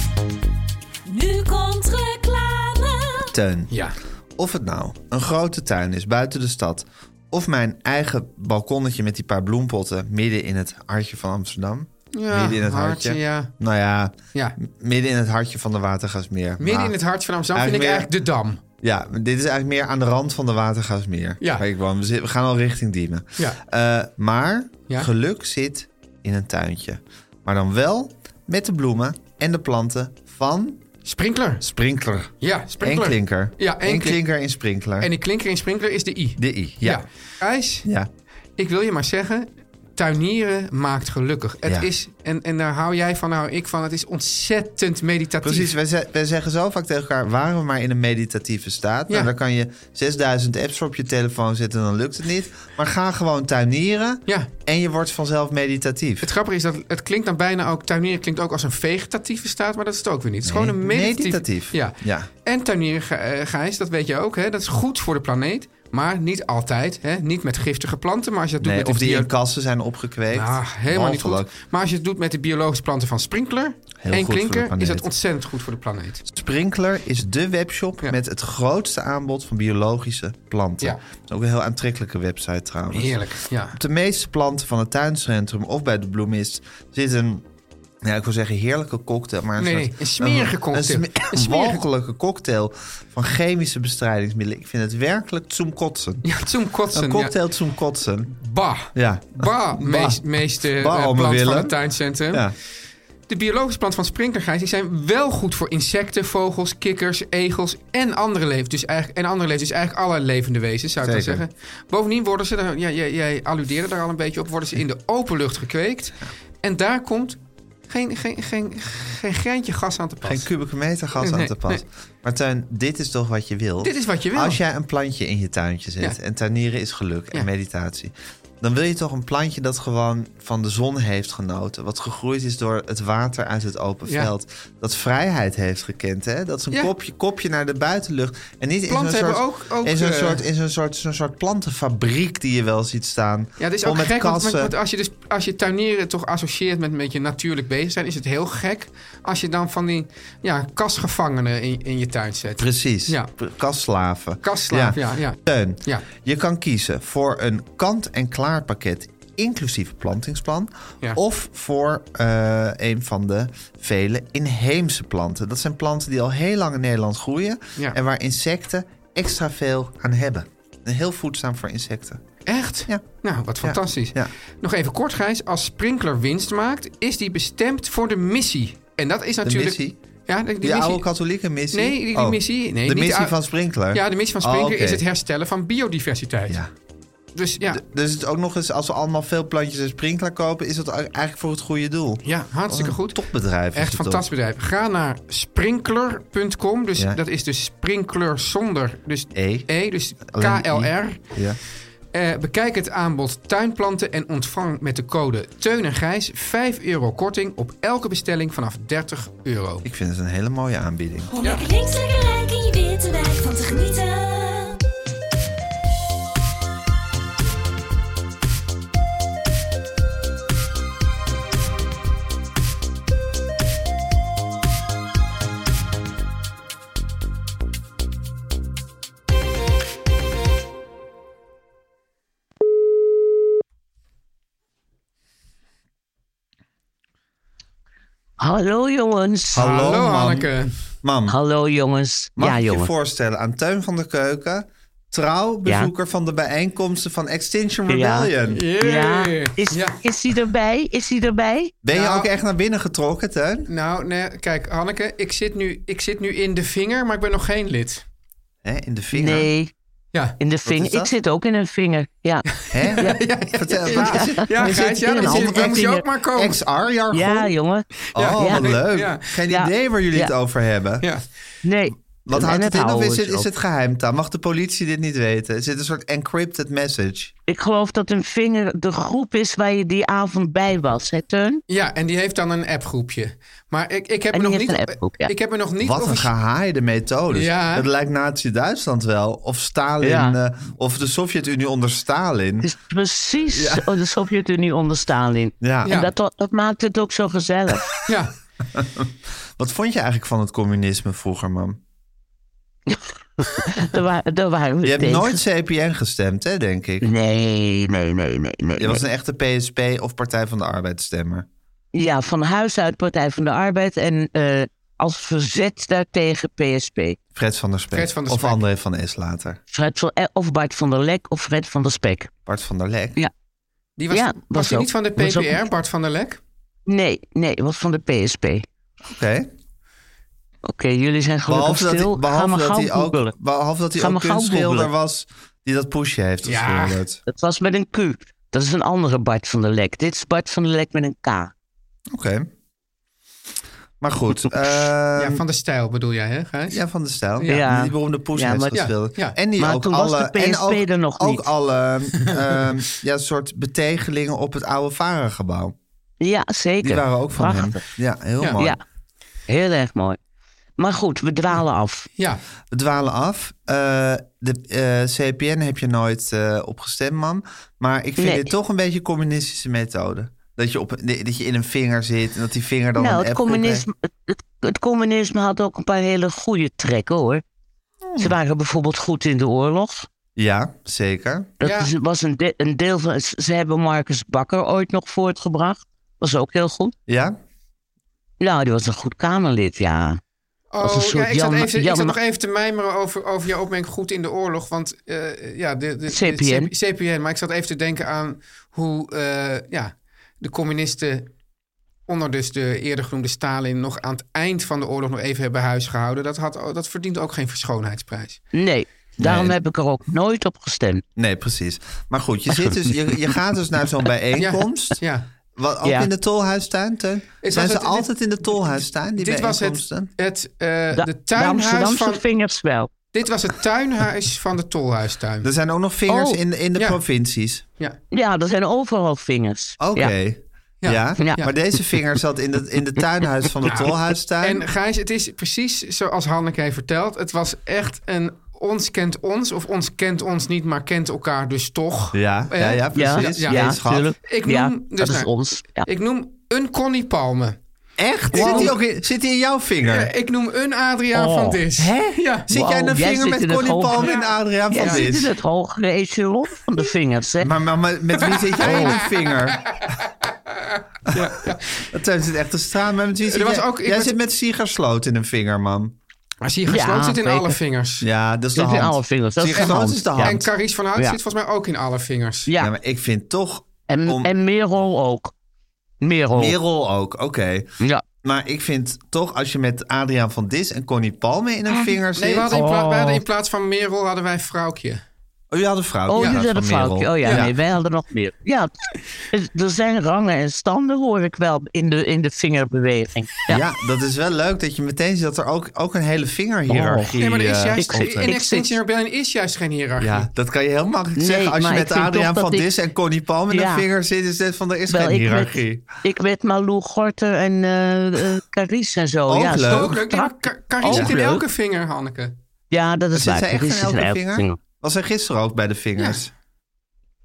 Nu komt reclame. Teun, Ja. of het nou een grote tuin is buiten de stad... of mijn eigen balkonnetje met die paar bloempotten midden in het hartje van Amsterdam... Ja, midden in het hartje, hartje. ja. Nou ja, Ja. midden in het hartje van de Watergasmeer. Midden Maar- in het hart van Amsterdam vind ik Eigenlijk eigenlijk de Dam. Ja, dit is eigenlijk meer aan de rand van de Watergasmeer. Ja. Waar ik woon. We, zi- we gaan al richting Diemen. Ja. Eh, maar Ja. geluk zit in een tuintje. Maar dan wel met de bloemen en de planten van Sprinkler. Sprinkler. Ja, En sprinkler. Klinker. Ja, en en klin- Klinker en Sprinkler. En die klinker in sprinkler is de I. De I, ja. Gijs, Ja, ik wil je maar zeggen, tuinieren maakt gelukkig. Het Ja. is, en, en daar hou jij van, daar hou ik van. Het is ontzettend meditatief. precies. Wij, ze- wij zeggen zo vaak tegen elkaar, waren we maar in een meditatieve staat. Nou, Ja. dan kan je 6000 apps op je telefoon zetten en dan lukt het niet. Maar ga gewoon tuinieren Ja. en je wordt vanzelf meditatief. Het grappige is dat het klinkt dan bijna ook, tuinieren klinkt ook als een vegetatieve staat, maar dat is het ook weer niet. Het is Nee, gewoon een meditatief. meditatief. Ja. Ja. En tuinieren, Gij- eh, Gijs, dat weet je ook, hè? dat is goed voor de planeet, maar niet altijd. Hè? Niet met giftige planten, maar als je dat doet Nee, met de of die bio- in kassen zijn opgekweekt. Ah, helemaal niet goed. Walgelijk. Maar als je het doet met de biologische planten van Sprinkler Heel goed en voor de Klinker, is planeet. dat ontzettend goed voor de planeet. Sprinkler is de webshop Ja. met het grootste aanbod van biologische planten. Ja. Dat is ook een heel aantrekkelijke website trouwens. Heerlijk, ja. Op de meeste planten van het tuincentrum of bij de bloemist zit een... Ja, ik wil zeggen heerlijke cocktail, maar een Nee, soort... nee, een smerige cocktail. Een, sme- Een smerige- walgelijke cocktail van chemische bestrijdingsmiddelen. Ik vind het werkelijk zum kotsen. Ja, Zoom Een Kotsen. Ja. cocktail zum kotsen. Bah. Ja. Bah, meest, meeste eh, Bah, ome plant Willem. van het tuincentrum. Ja. De biologische plant van Sprinklergijs die zijn wel goed voor insecten, vogels, kikkers, egels en andere levens. Dus eigenlijk, en andere levens, dus eigenlijk alle levende wezens, zou ik wel Zeker. zeggen. Bovendien worden ze, daar- ja, jij, jij alludeerde daar al een beetje op, worden ze in de open lucht gekweekt. En daar komt geen, geen, geen, geen greintje gas aan te pas. Geen kubieke meter gas Nee, aan te pas. nee. Maar Teun, dit is toch wat je wil? Dit is wat je wil. Als jij een plantje in je tuintje zet. Ja. En tuinieren is geluk en Ja. meditatie. dan wil je toch een plantje dat gewoon van de zon heeft genoten. Wat gegroeid is door het water uit het open Ja. veld. Dat vrijheid heeft gekend. Hè? Dat is een Ja. kopje, kopje naar de buitenlucht. En niet in zo'n Planten hebben soort, ook- ook, in zo'n eh, soort, in zo'n soort, zo'n soort plantenfabriek die je wel ziet staan. Ja, het is Vol ook met gek, want, kassen. want als je dus als je tuinieren toch associeert met een beetje natuurlijk bezig zijn, is het heel gek als je dan van die ja, kastgevangenen in, in je tuin zet. Precies, Ja. P- kastslaven. Kastslaaf, ja. ja, Teun, ja. je kan kiezen voor een kant-en-klaar pakket inclusief een plantingsplan. Ja. Of voor eh, een van de vele inheemse planten. Dat zijn planten die al heel lang in Nederland groeien. Ja. En waar insecten extra veel aan hebben. En heel voedzaam voor insecten. Echt? Ja. Nou, wat fantastisch. Ja. Nog even kort, Gijs. Als Sprinkler winst maakt, is die bestemd voor de missie. En dat is natuurlijk... missie? Ja, de, Die oude katholieke missie? Nee, die, die Oh, missie... Nee, de niet missie ou- van Sprinkler? Ja, de missie van Sprinkler Oh, oké. is het herstellen van biodiversiteit. Ja. Dus ja, D- Dus het ook nog eens, als we allemaal veel plantjes en Sprinkler kopen... is dat e- eigenlijk voor het goede doel. ja hartstikke Wat een goed. Topbedrijf. Oh, is Echt het toch? fantastisch bedrijf. Ga naar sprinkler.com. Dus Ja. dat is dus sprinkler zonder. Dus E. E, dus Alleen I. KLR. Ja. Eh, bekijk het aanbod tuinplanten en ontvang met de code Teun en Gijs 5 euro korting op elke bestelling vanaf 30 euro. Ik vind het een hele mooie aanbieding. Om lekker links, lekker rijk in je witte wijk van te genieten. Hallo jongens. Hallo, mam. Hanneke. Mam, Hallo jongens. mag ja ik je jongens. voorstellen aan Teun van de Keuken... trouw bezoeker van de bijeenkomsten van Extinction Ja. Rebellion. Ja. Yeah. Is, Ja. is die erbij? Is die erbij? Ben je Nou. ook echt naar binnen getrokken, Teun? Nou, nee, kijk, Hanneke, ik zit, nu, ik zit nu in de vinger, maar ik ben nog geen lid. Hè, in de vinger? Nee, Ja. in de is vinger. dat? Ik zit ook in een vinger. Ja. Hè? Vertel, waar is het? Ja, Hij Gijs, zit ja, dan, in een moet je- dan moet je andere ook maar komen. XR-jargon? ja, jongen. Oh, Ja. wat leuk. Ja. Geen Ja. idee waar jullie Ja. het over hebben. Ja. Nee. Wat En houdt het het in of houden is het, ze is ook. het geheimtaal? Mag de politie dit niet weten? Is dit een soort encrypted message? Ik geloof dat een vinger de groep is waar je die avond bij was, hè Hm. Teun? Ja, en die heeft dan een appgroepje. Maar ik, ik, heb, En me nog die heeft niet, een appgroep, ja. ik heb me nog niet... Wat een offici- gehaaide methode. Ja. Het lijkt Nazi-Duitsland wel. Of Stalin. Ja. eh, of de Sovjet-Unie onder Stalin. Het is precies oh, de Sovjet-Unie onder Stalin. Ja. Ja. En dat, dat maakt het ook zo gezellig. Ja, Wat vond je eigenlijk van het communisme vroeger, mam? daar, wa- daar waren we Je hebt tegen. nooit CPN gestemd, hè, denk ik. Nee, nee, nee, nee. nee, Je was een echte PSP of Partij van de Arbeid stemmer. Ja, van huis uit Partij van de Arbeid en eh, als verzet daartegen PSP. Fred van der Spek. Fred van der of Spek. André van Es later. Fred van, eh, of Bart van der Lek of Fred van der Spek. Bart van der Lek. die was, Ja, was, was die ook- niet van de was ook- PPR, Bart van der Lek? Nee, nee, was van de PSP. Oké, Oké. jullie zijn gelukkig Behalve dat, stil. hij, Ga behalve, maar dat gauw hij ook, googelen. behalve dat hij Ga ook maar gauw kunstschilder googelen. was die dat poesje heeft Ja. geschilderd. Dat was met een Q. Dat is een andere Bart van der Lek. Dit is Bart van der Lek met een K. Oké. Maar goed. ehm, ja, van de stijl bedoel jij, hè, Gijs? ja, van de stijl. Ja. Die beroemde poes Ja, heeft maar- geschilderd. Ja, ja. En die Maar ook toen was alle, de en PSP ook, er nog ook niet. alle ehm, ja, soort betegelingen op het oude varengebouw. Ja, zeker. Die waren ook van Prachtig. hem. Ja, heel Ja. mooi. Ja, heel erg mooi. Maar goed, we dwalen af. Ja, We dwalen af. Eh, de eh, CPN heb je nooit eh, op gestemd, mam. Maar ik vind Nee. dit toch een beetje communistische methode. Dat je, op, dat je in een vinger zit en dat die vinger dan een Nou, het appgroep heeft. communisme, het, het- het communisme had ook een paar hele goede trekken hoor. Hmm. Ze waren bijvoorbeeld goed in de oorlog. Ja, zeker. Dat Ja. is- was een, de- een deel van. Ze ze hebben Marcus Bakker ooit nog voortgebracht. Was ook heel goed. Ja? Nou, die was een goed Kamerlid, ja. Als Oh, een ja, soort ik, zat Jan- even, ik Jan- zat nog even te mijmeren over, over jouw opmerking goed in de oorlog. Want eh, ja, de, de, de CPN. CP CPN. Maar ik zat even te denken aan hoe eh, ja, de communisten onder dus de eerder genoemde Stalin... nog aan het eind van de oorlog nog even hebben huisgehouden. Dat, had, dat verdient ook geen schoonheidsprijs. Nee, daarom Nee. heb ik er ook nooit op gestemd. Nee, precies. Maar goed, je, zit dus, je, je gaat dus naar zo'n bijeenkomst. Ja, Wat, ook Ja. in de Tolhuistuin, Teun? was Zijn ze het- dit- altijd in de Tolhuistuin, die dit was het, bijeenkomsten? het eh, Da- de de tuinhuis Amsterdamse van... vingers wel. Dit was het tuinhuis van de Tolhuistuin. Er zijn ook nog vingers Oh, in, in de ja. provincies. Ja. Ja, dat zijn overal vingers. Oké. Ja. Ja. Ja. maar deze vinger zat in het in de tuinhuis van de Tolhuistuin. En Gijs, het is precies zoals Hanneke heeft verteld. Het was echt een ons kent ons, of ons kent ons niet, maar kent elkaar dus toch. Eh, ja, ja, ja, Ja, precies. ja, ja, ja, Nee, schat. tuurlijk. Ik ja, noem dus dat is nou- ons. Ja. Ik noem een Connie Palme. Echt? Zit die, ook in, zit die in jouw vinger? Ja, ik noem een Adriaan van Oh. Dis. Ja. Zit jij in een Wow, jij vinger zit met in het Connie hoge- Palm en Adriaan Jij van zit in Dis? het hogere echelon van de vingers, hè? Maar, maar, maar met wie zit jij in Oh. een vinger? Ja, ja. Dat eh, zit echt te staan. Maar met wie zit Er was jij- ook- ik jij werd- zit met Sigersloot in een vinger, man. Maar zie je, gesloten Ja, zit in zeker. alle vingers. Ja, dat is de Zit in hand. alle vingers, dat is de Sigersloot hand. is de Ja. En hand. Caries van Hout Ja. zit volgens mij ook in alle vingers. Ja, Ja, maar ik vind toch... en, om- en Merel ook. Merel. Merel ook, oké. Ja. Maar ik vind toch, als je met Adriaan van Dis en Connie Palme Ah, in een vinger zit... Nee, we hadden, in Oh. pla- we hadden in plaats van Merel hadden wij vrouwtje. Oh, je had een vrouw. Oh, ja, jullie van hadden een Merel. foutje. Oh ja, Ja. nee, wij hadden nog meer. Ja, het- er zijn rangen en standen, hoor ik wel, in de, in de vingerbeweging. Ja. Ja. dat is wel leuk dat je meteen ziet dat er ook, ook een hele vingerhiërarchie Nee, maar er is eh, juist, komt. in ik Extinction zit- Rebellion is juist geen hiërarchie. Ja, dat kan je heel makkelijk Nee, zeggen. Als je maar met ik vind Adriaan toch van dat ik- Dis en Connie Palm in Ja. een vinger zit, is dit van er is Wel, geen ik met- hiërarchie. Ik met Malou Gorter en eh, eh, Carice en zo. Ook ja, leuk. zo Ook leuk. Nee, maar strak. Ka- Caries Ook zit in leuk. elke vinger, Hanneke. Ja, dat is Zit waar. zij echt in Carice is elke vinger? Was hij gisteren ook bij de vingers?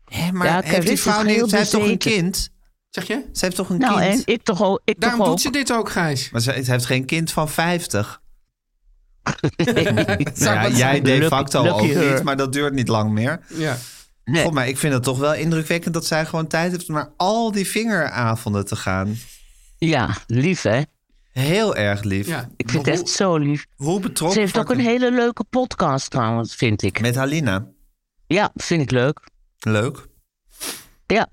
Hé, maar Ja, heeft Carice die is vrouw niet... heel Zij heeft toch een bezeten. kind? Zeg je? Ze heeft toch een Nou, en kind? ik toch ook. Ik Daarom toch ook. doet ze dit ook, Gijs. Maar ze, ze heeft geen kind van 50. Zou Nou Ja, dat- jij de Lucky- facto lucky ook her. niet, maar dat duurt niet lang meer. Ja. Nee. God, maar ik vind het toch wel indrukwekkend dat zij gewoon tijd heeft om naar al die vingeravonden te gaan. Ja, lief hè. Heel erg lief. Ja. Ik vind het Hoe- echt zo lief. Hoe betrokken. Ze heeft ook een fucking- hele leuke podcast trouwens, vind ik. Met Halina. Ja, vind ik leuk. Leuk. Ja,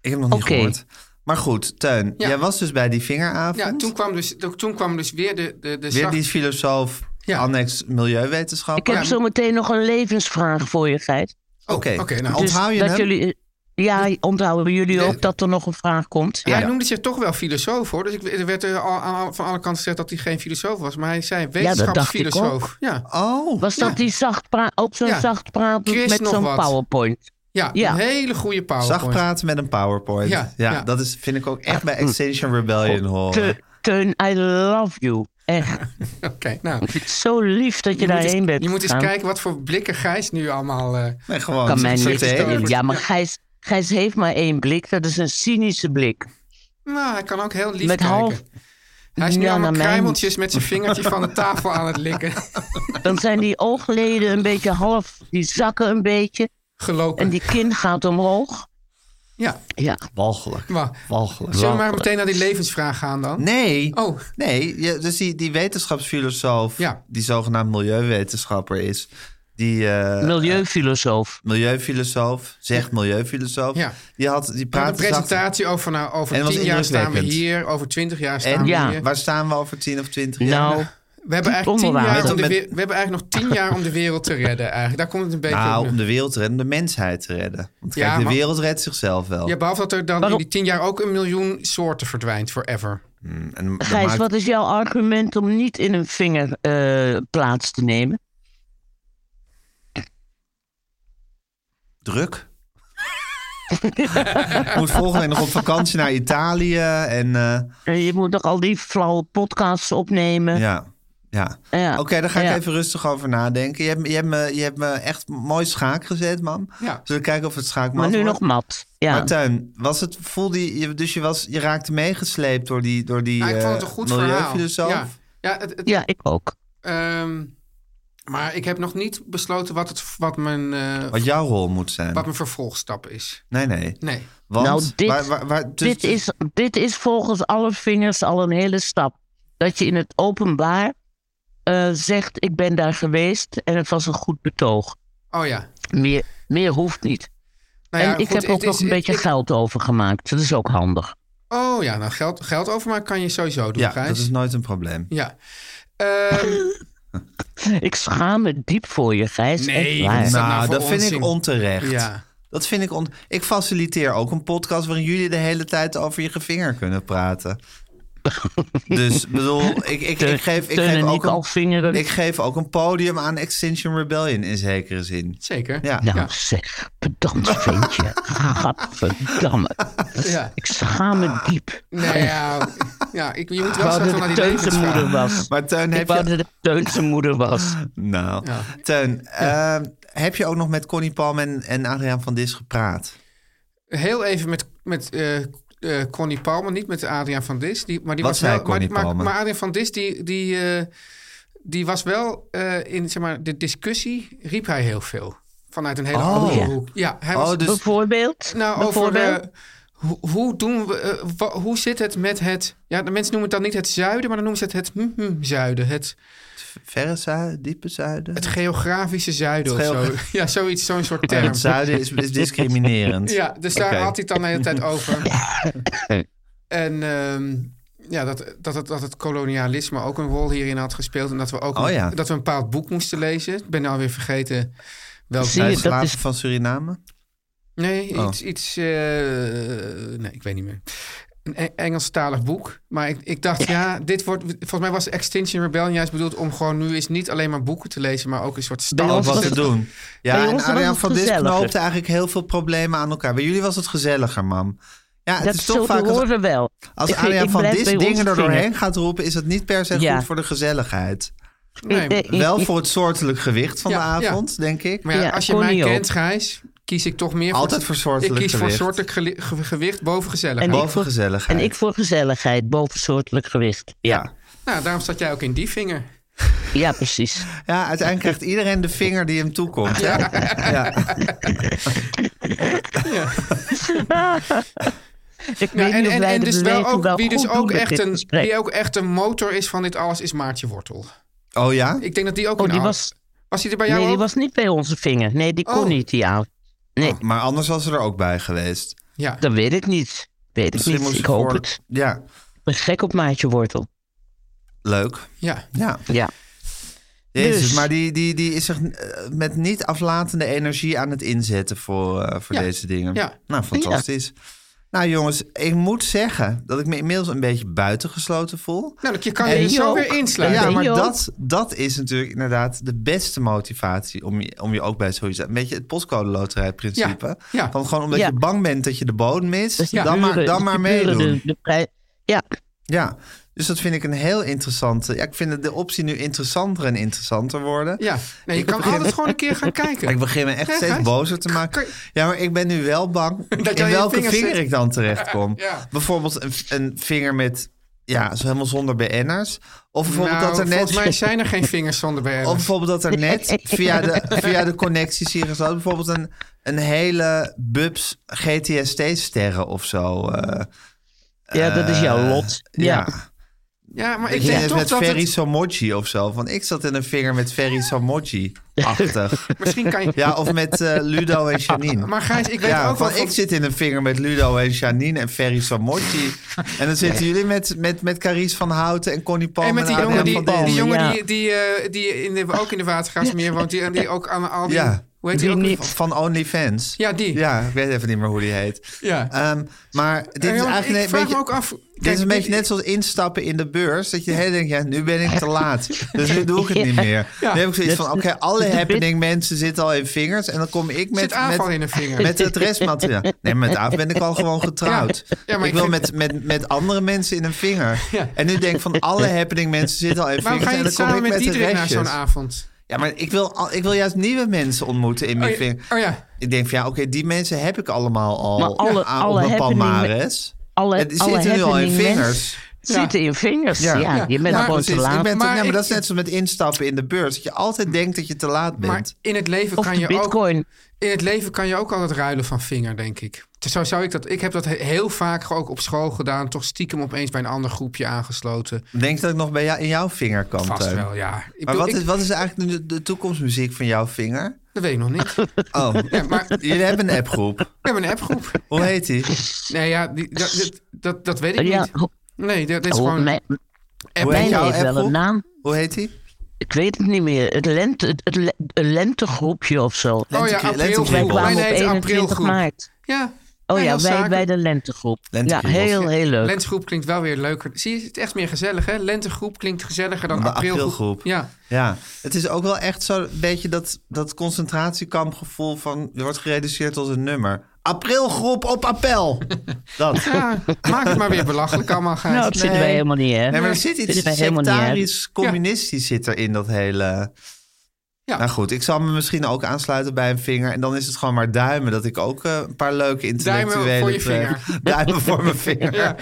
Ik heb nog niet Oké. gehoord. Maar goed, Teun, Ja. jij was dus bij die vingeravond. Ja, toen kwam dus, toen kwam dus weer de, de, de Weer zacht- die filosoof, Ja. annex ik milieuwetenschapper. heb zo meteen nog een levensvraag voor je, Geit. Oké, oké, nou, Dus onthoud je dat hem? jullie, Ja, onthouden jullie De- ook dat er nog een vraag komt? Hij Ja. noemde zich toch wel filosoof, hoor. Dus ik, er werd er al, aan, al- van alle kanten gezegd dat hij geen filosoof was. Maar hij zei wetenschapsfilosoof. ja, Oh, Was dat Ja. die zacht pra- ook zo'n Ja. zacht praat Chris met nog zo'n wat. powerpoint? ja, Ja. een hele goede zacht powerpoint. praten met een powerpoint. Ja, Ja, ja. dat is, vind ik ook echt bij Extinction Rebellion Oh. horen. Ah, Te- Teun, I love you. Echt, Oké, nou. ik vind het zo lief dat je, daarheen moet eens, bent je moet eens gegaan. kijken wat voor blikken Gijs nu allemaal... eh, Nee, gewoon Kan mij saté. niks schelen. Ja, maar Ja. Gijs, Gijs heeft maar één blik. Dat is een cynische blik. nou, hij kan ook heel lief Met kijken. half- Hij is nu Ja, allemaal naar mij kruimeltjes met zijn vingertje van de tafel aan het likken. Dan zijn die oogleden een beetje half, die zakken een beetje. Gelopen. En die kin gaat omhoog. Ja, Ja, Walgelijk, maar... walgelijk. Zullen we maar meteen naar die levensvraag gaan dan? Nee, Oh, nee je- dus die, die wetenschapsfilosoof, Ja. die zogenaamd milieuwetenschapper is, die eh, milieufilosoof. milieufilosoof, zegt milieufilosoof, Ja. die, had, die een praatte zacht- presentatie over, nou, over En was 10 jaar staan we indrukwekkend. hier, over 20 jaar staan En we Ja. hier. waar staan we over 10 of 20 jaar? Nou, We hebben, eigenlijk tien onderwater. jaar om de, Met- we we hebben eigenlijk nog tien jaar om de wereld te redden. Eigenlijk. Daar komt het een beetje Nou, op om neer. de wereld te redden, om de mensheid te redden. Want Ja, kijk, de maar- wereld redt zichzelf wel. Ja, behalve dat er dan Waarom- in die tien jaar ook een miljoen soorten verdwijnt, forever. Mm, en dat Gijs, maakt- wat is jouw argument om niet in een vinger eh, plaats te nemen? Druk. Ik moet volgende week nog op vakantie naar Italië. En eh, Eh, je moet toch al die flauwe podcasts opnemen? ja, ja. Ja. Oké, daar ga ik Ja. even rustig over nadenken. Je hebt, je, hebt me, je hebt me echt mooi schaak gezet, man. Ja. Zullen we kijken of het schaak Maar nu nog wordt? mat. Ja. Maar Teun, was het, voelde je, dus je, was, je raakte meegesleept door die, door die Nou, ik vond het eh, een goed verhaal. milieufilosoof? Ja, ja, het, het, ja, ik ook. ehm, maar ik heb nog niet besloten wat, het, wat, mijn, eh, Wat jouw rol moet zijn. wat mijn vervolgstap is. Nee, nee. Nee. Want, Nou, dit- waar- waar- waar- dus- dit, is, dit is volgens alle vingers al een hele stap. Dat je in het openbaar eh, zegt: Ik ben daar geweest en het was een goed betoog. Oh ja. Meer, meer hoeft niet. Nou ja en ik goed, heb ook het nog is- een het- beetje ik- geld overgemaakt. Dat is ook handig. Oh ja, nou geld, geld overmaken kan je sowieso doen, Ja, Gijs. dat is nooit een probleem. Ja. Ehm, Ik schaam me diep voor je, Gijs. Nee, Echt waar. dat is nou, nou voor dat vind onzin? ik onterecht. ja. Dat vind ik on... Ik faciliteer ook een podcast waarin jullie de hele tijd over je gevinger kunnen praten. Dus bedoel, ik, ik, ik geef, ik Teun geef en ook Niek een, al vingeren. ik geef ook een podium aan Extinction Rebellion in zekere zin. Zeker. Ja. Nou Ja. zeg, bedankt ventje. Gadverdamme. Ja. Ik schaam me diep. Nou ja, ja ik, je moet Ik wel wou straks dat wel naar het die Teun levens zijn moeder was. Maar Teun, Ik heb je... wou dat het Teun zijn moeder was. Dus- Nou, Ja. Teun, eh, heb je ook nog met Connie Palm en, en Adriaan van Dis gepraat? Heel even met, met eh, eh, Connie Palmer, niet met Adriaan van Dis. Die, maar die Wat was zei wel, maar- Connie maar, Palmer? Maar, Adriaan van Dis, die, die, eh, die was wel eh, in zeg maar, de discussie, riep hij heel veel. Vanuit een hele Oh. andere Ja. hoek. Ja, hij Oh, was, dus- Bijvoorbeeld? nou, over bijvoorbeeld? eh, hoe, hoe doen we, eh, wa- hoe zit het met het, ja, de mensen noemen het dan niet het zuiden, maar dan noemen ze het het hm, hm, zuiden. Het, Verre zuiden, diepe zuiden? het geografische zuiden Het of geo- zo. Ja, zoiets, zo'n soort Maar term. het zuiden is, is discriminerend. Ja, dus daar Oké. had hij het dan de hele tijd over. en ehm, ja, dat, dat, het, dat het kolonialisme ook een rol hierin had gespeeld. En dat we ook Oh een, ja. dat we een bepaald boek moesten lezen. Ik ben nou weer vergeten welk Zie Bij je, het dat slaven is- van Suriname? Nee, Oh. iets. iets eh, nee, ik weet niet meer. Een Eng- Engelstalig boek. Maar ik, ik dacht, ja, dit wordt. Volgens mij was Extinction Rebellion juist bedoeld om gewoon nu eens niet alleen maar boeken te lezen, maar ook een soort Bij stal. ons Ook Oh, wat was te het- doen. Ja, bij en ons was Adriaan het van Dis gezelliger. knoopt eigenlijk heel veel problemen aan elkaar. Bij jullie was het gezelliger, mam. Ja, het Dat is zo toch vaak als, horen wel. als Ik- Adriaan ik van blijf Dis bij ons dingen er doorheen vinger. gaat roepen... is het niet per se Ja. goed voor de gezelligheid. Nee, Ik- ik- Wel ik- voor het soortelijk gewicht van Ja, de ja. avond, denk ik. Maar ja, Ja, als je kon mij niet kent, Gijs, kies ik toch meer Altijd voor soortelijk Ik kies gewicht. voor soortelijk geli- ge- gewicht boven En gezelligheid. ik- Boven voor- gezelligheid. En ik voor gezelligheid, bovensoortelijk gewicht. Ja, Nou, daarom zat jij ook in die vinger. ja precies. Ja, uiteindelijk krijgt iedereen de vinger die hem toekomt. hè? Ja. Ik Ja, weet en niet of en, wij en de dus wel beweging ook, wel wie dus goed doen ook met echt dit een, gesprek. die ook echt een motor is van dit alles, is Maartje Wortel. Oh ja? Ik denk dat die ook Oh, in die al- was, Was hij er bij Nou, jou nee, die ook? was niet bij onze vinger. Nee, die kon Oh. niet, die aan. Nee, Maar anders was ze er ook bij geweest. Ja. dat weet ik niet. Weet ik Misschien niet, moest ik ze hoop voor- het. Ja, Ik ben gek op maatje wortel. leuk. ja. Nou, Ja. Ja. Jezus, Dus- maar die, die, die is zich eh, met niet aflatende energie aan het inzetten voor, eh, voor Ja. deze dingen. Ja. Nou, fantastisch. Nou jongens, ik moet zeggen dat ik me inmiddels een beetje buitengesloten voel. Nou, dat je kan En je er die zo ook. weer insluiten. ja, ben maar je ook. dat, dat is natuurlijk inderdaad de beste motivatie om je, om je ook bij zoiets... Een beetje het postcode loterij principe. Ja, ja. Van gewoon omdat Ja. je bang bent dat je de bodem mist, Dus die dan, maar, buren- dan die maar buren, meedoen. de- de prij- ja, Ja, dus dat vind ik een heel interessante... Ja, ik vind het de optie nu interessanter en interessanter worden. Ja. Nee, je Ik kan begin- altijd gewoon een keer gaan Ik kijken. begin me echt Ja, steeds Gijs. bozer te Kan maken. je- Ja, maar ik ben nu wel bang jij in je welke vingers vinger zit. ik dan terechtkom. Ja. Bijvoorbeeld een, een vinger met, ja, zo helemaal zonder BN'ers. Of bijvoorbeeld Nou, dat er net... volgens mij zijn er geen vingers zonder bij Of bijvoorbeeld dat er net via de, via de connecties hier gesloten... bijvoorbeeld een, een hele bubs GTST-sterren of zo. eh, ja, dat is jouw eh, lot. Ja. Ja, maar ik Ik denk zit toch met dat Ferry het... Samoji of zo. Van, ik zat in een vinger met Ferry Samoji-achtig. Misschien kan je... ja, of met eh, Ludo en Janine. Maar Gijs, ik weet ja, ook wel... van, ik zit in een vinger met Ludo en Janine en Ferry Samoji. en dan zitten jullie met, met, met Carice van Houten en Connie Palm. En met die Adriaan jongen, die, van die, Dis. die jongen Ja. die, die, eh, die in de, ook in de Watergraafsmeer woont, die, en die ook aan al die... Ja. Hoe heet die, Die ook? niet. Van OnlyFans. Ja, die. Ja, ik weet even niet meer hoe die heet. Ja. Ehm, maar dit Ja, is want eigenlijk ik een vraag beetje... me ook af... dit is een kijk, beetje net zoals instappen in de beurs. Dat je de hele tijd denkt, ja, nu ben ik te laat. Dus nu doe ik het niet meer. Ja. Nu heb ik zoiets van, Dat- oké, alle dat- happening mensen zitten al in vingers. En dan kom ik Zit met, aanval met, in een vinger. met het restmateriaal. Nee, maar met Aaf ben ik al gewoon getrouwd. Ja, maar ik, ik wil vind- met, met, met andere mensen in een vinger. Ja. En nu denk ik van alle happening mensen zitten al in Waarom vingers. ga je en niet dan kom samen ik met met de Diederik naar restjes. zo'n avond? Ja, maar ik wil, al- ik wil juist nieuwe mensen ontmoeten in Oh mijn ja, vinger. oh ja. Ik denk van ja, oké, die mensen heb ik allemaal Maar al alle- aan- op alle mijn happening- palmares. Alle, Het alle zitten nu al in happening vingers. mensen Zitten in vingers, ja. Ja. Je bent Ja, gewoon te Precies, ik laat. ben te- Maar ja, maar ik- dat is net zo met instappen in de beurs. Dat je altijd denkt dat je te laat Maar bent. in het leven Of kan de je ook... bitcoin. In het leven kan je ook altijd ruilen van vinger, denk ik. Zo zou ik dat. Ik heb dat he- heel vaak ook op school gedaan. Toch stiekem opeens bij een ander groepje aangesloten. Denk je dat ik nog bij jou, in jouw vinger kan, Vast Teun? wel, ja. Ik Maar bedoel, wat ik- is, wat is eigenlijk nu de, de toekomstmuziek van jouw vinger? Dat weet ik nog niet. We Oh, maar- jullie hebben een appgroep. hebben een appgroep. Hoe heet die? Nee, ja, die, dat, dat, dat, dat weet ik ja, niet. Nee, dat, dat is oh, gewoon... mijn, app- Hoe heet mijn jouw heeft wel appgroep? een naam. Hoe heet die? Ik weet het niet meer. Het, lente, het, het le- een lentegroepje of zo. Oh ja, Lentekri- aprilgroep. lentekriebel. Wij kwamen Mijn op heet 21 aprilgroep. maart. Ja, Oh Ja, ja, heel wij zakelijk. bij de lentegroep. Lentegroep. Ja, heel, heel leuk. Lentegroep klinkt wel weer leuker. Zie je, het is echt meer gezellig, hè? Lentegroep klinkt gezelliger dan Dan de aprilgroep. aprilgroep. Ja, Ja, het is ook wel echt zo'n beetje dat, dat concentratiekampgevoel van... je wordt gereduceerd tot een nummer. Aprilgroep op appel! dat. ja maak het maar weer belachelijk allemaal, Gijs. nou, dat vinden wij helemaal niet, hè? Nee, maar er zit Dat vinden wij iets helemaal niet erg. sectarisch, communistisch zit er in dat hele... Ja. Nou goed, ik zal me misschien ook aansluiten bij een vinger. En dan is het gewoon maar duimen dat ik ook eh, een paar leuke Duimen voor intellectuelen... je tref. Duimen voor mijn vinger. Ja.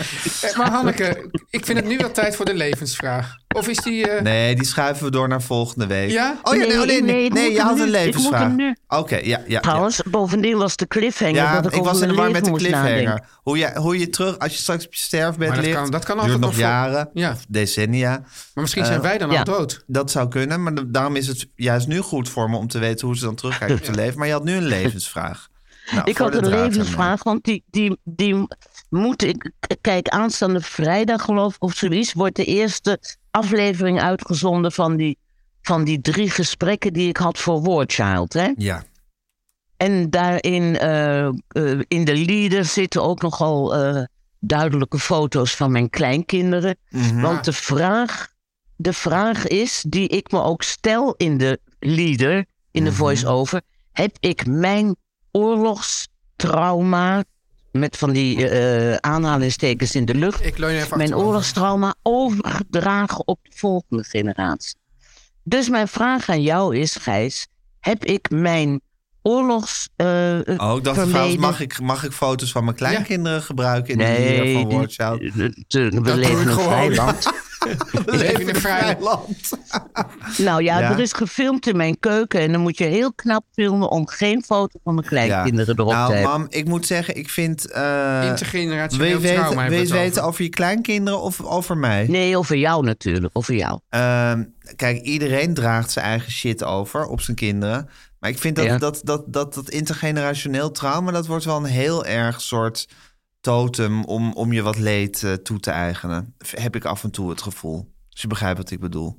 Eh, Maar Hanneke, ik vind het nu wel tijd voor de levensvraag. Of is die... eh, Nee, die schuiven we door naar volgende week. Ja? Oh ja, nee, oh, nee, nee, Nee, ik moet je hem had nu. een Ik moet hem levensvraag. nu. Oké, ja, ja, ja. Trouwens, bovendien was de cliffhanger Ja, dat ik, ik over was in de mijn war met leven de moest nadenken. cliffhanger. Hoe je, hoe je terug, als je straks op je sterfbed Maar dat ligt, kan- dat kan duurt altijd nog nog vol- jaren, Eh, Ja. of decennia. Maar misschien zijn wij dan ja. al dood. Dat zou kunnen, maar da- daarom is het juist nu goed voor me om te weten hoe ze dan terugkijken op hun leven. Maar je had nu een levensvraag. Nou, ik voor had de een draad levensvraag, want die, die, die moet ik... Kijk, aanstaande vrijdag geloof ik of zoiets... wordt de eerste aflevering uitgezonden van die, van die drie gesprekken... die ik had voor Warchild, hè? ermee. Ja, En daarin, eh, eh, in de leader zitten ook nogal eh, duidelijke foto's van mijn kleinkinderen. Want de vraag, de vraag is, die ik me ook stel in de leader, in de voice-over. Heb ik mijn oorlogstrauma, met van die eh, eh, aanhalingstekens in de lucht, Ik leun even mijn achterover. oorlogstrauma overgedragen op de volgende generatie. Dus mijn vraag aan jou is, Gijs, heb ik mijn oorlogs... eh, Oh, ik dacht vermeden- trouwens, mag ik, mag ik foto's van mijn kleinkinderen gebruiken in de Nee, leer van die- Warchild? de- de- we doe ik leven in een gewoon. vrij land. We leven in in een een vrij vrij land. Nou ja, Ja. er is gefilmd in mijn keuken. En dan moet je heel knap filmen om geen foto van mijn kleinkinderen erop te Nou, hebben. mam, ik moet zeggen, ik vind... eh wil je Intergenerationeel weten, trauma wil hebben je we het weten over. over je kleinkinderen of over mij? Nee, over jou natuurlijk. Over jou. Ehm, kijk, iedereen draagt zijn eigen shit over op zijn kinderen. Maar ik vind dat, Ja. dat, dat, dat, dat intergenerationeel trauma... dat wordt wel een heel erg soort totem om, om je wat leed eh, toe te eigenen. V- Heb ik af en toe het gevoel. Als je begrijpt wat ik bedoel.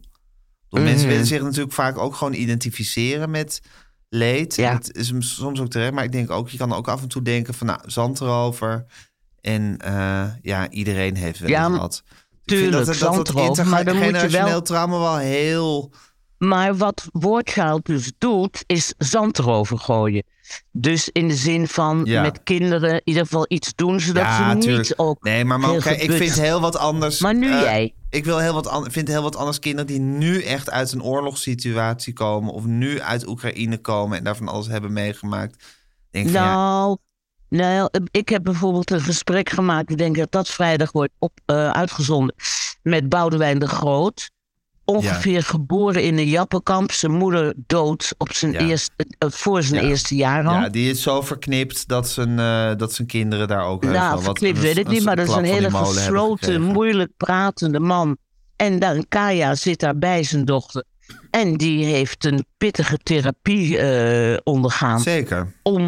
Want Mensen Mhm. willen zich natuurlijk vaak ook gewoon identificeren met leed. Ja. En Dat is hem soms ook terecht. Maar ik denk ook, je kan ook af en toe denken van... nou, zand erover. En eh, ja, iedereen heeft wel Ja, eens maar- wat. Tuurlijk, ik vind dat, dat, dat zand erover, maar dan moet je wel- intergenerationeel trauma wel heel... Maar wat Woordchild dus doet, is zand erover gooien. Dus in de zin van Ja. met kinderen in ieder geval iets doen, zodat ze niet tuurlijk. ook... Nee, maar man, heel kijk, ik geput- vind heel wat anders... Maar nu eh, jij. Ik wil heel wat an- vind heel wat anders kinderen die nu echt uit een oorlogssituatie komen... of nu uit Oekraïne komen en daarvan alles hebben meegemaakt. Denk van, ja, Nou, nou, ik heb bijvoorbeeld een gesprek gemaakt. Ik denk dat dat vrijdag wordt op, eh, uitgezonden. Met Boudewijn de Groot. Ongeveer geboren in een jappenkamp. Zijn moeder dood op zijn Ja. eerste, eh, voor zijn Ja. eerste jaar al. ja, die is zo verknipt dat zijn, eh, dat zijn kinderen daar ook... heus wel nou, wat- verknipt een- weet ik niet, maar dat is klap een van die hele molen hebben gesloten, gekregen. moeilijk pratende man. En dan Kaya zit daar bij zijn dochter. En die heeft een pittige therapie eh, ondergaan Zeker. om,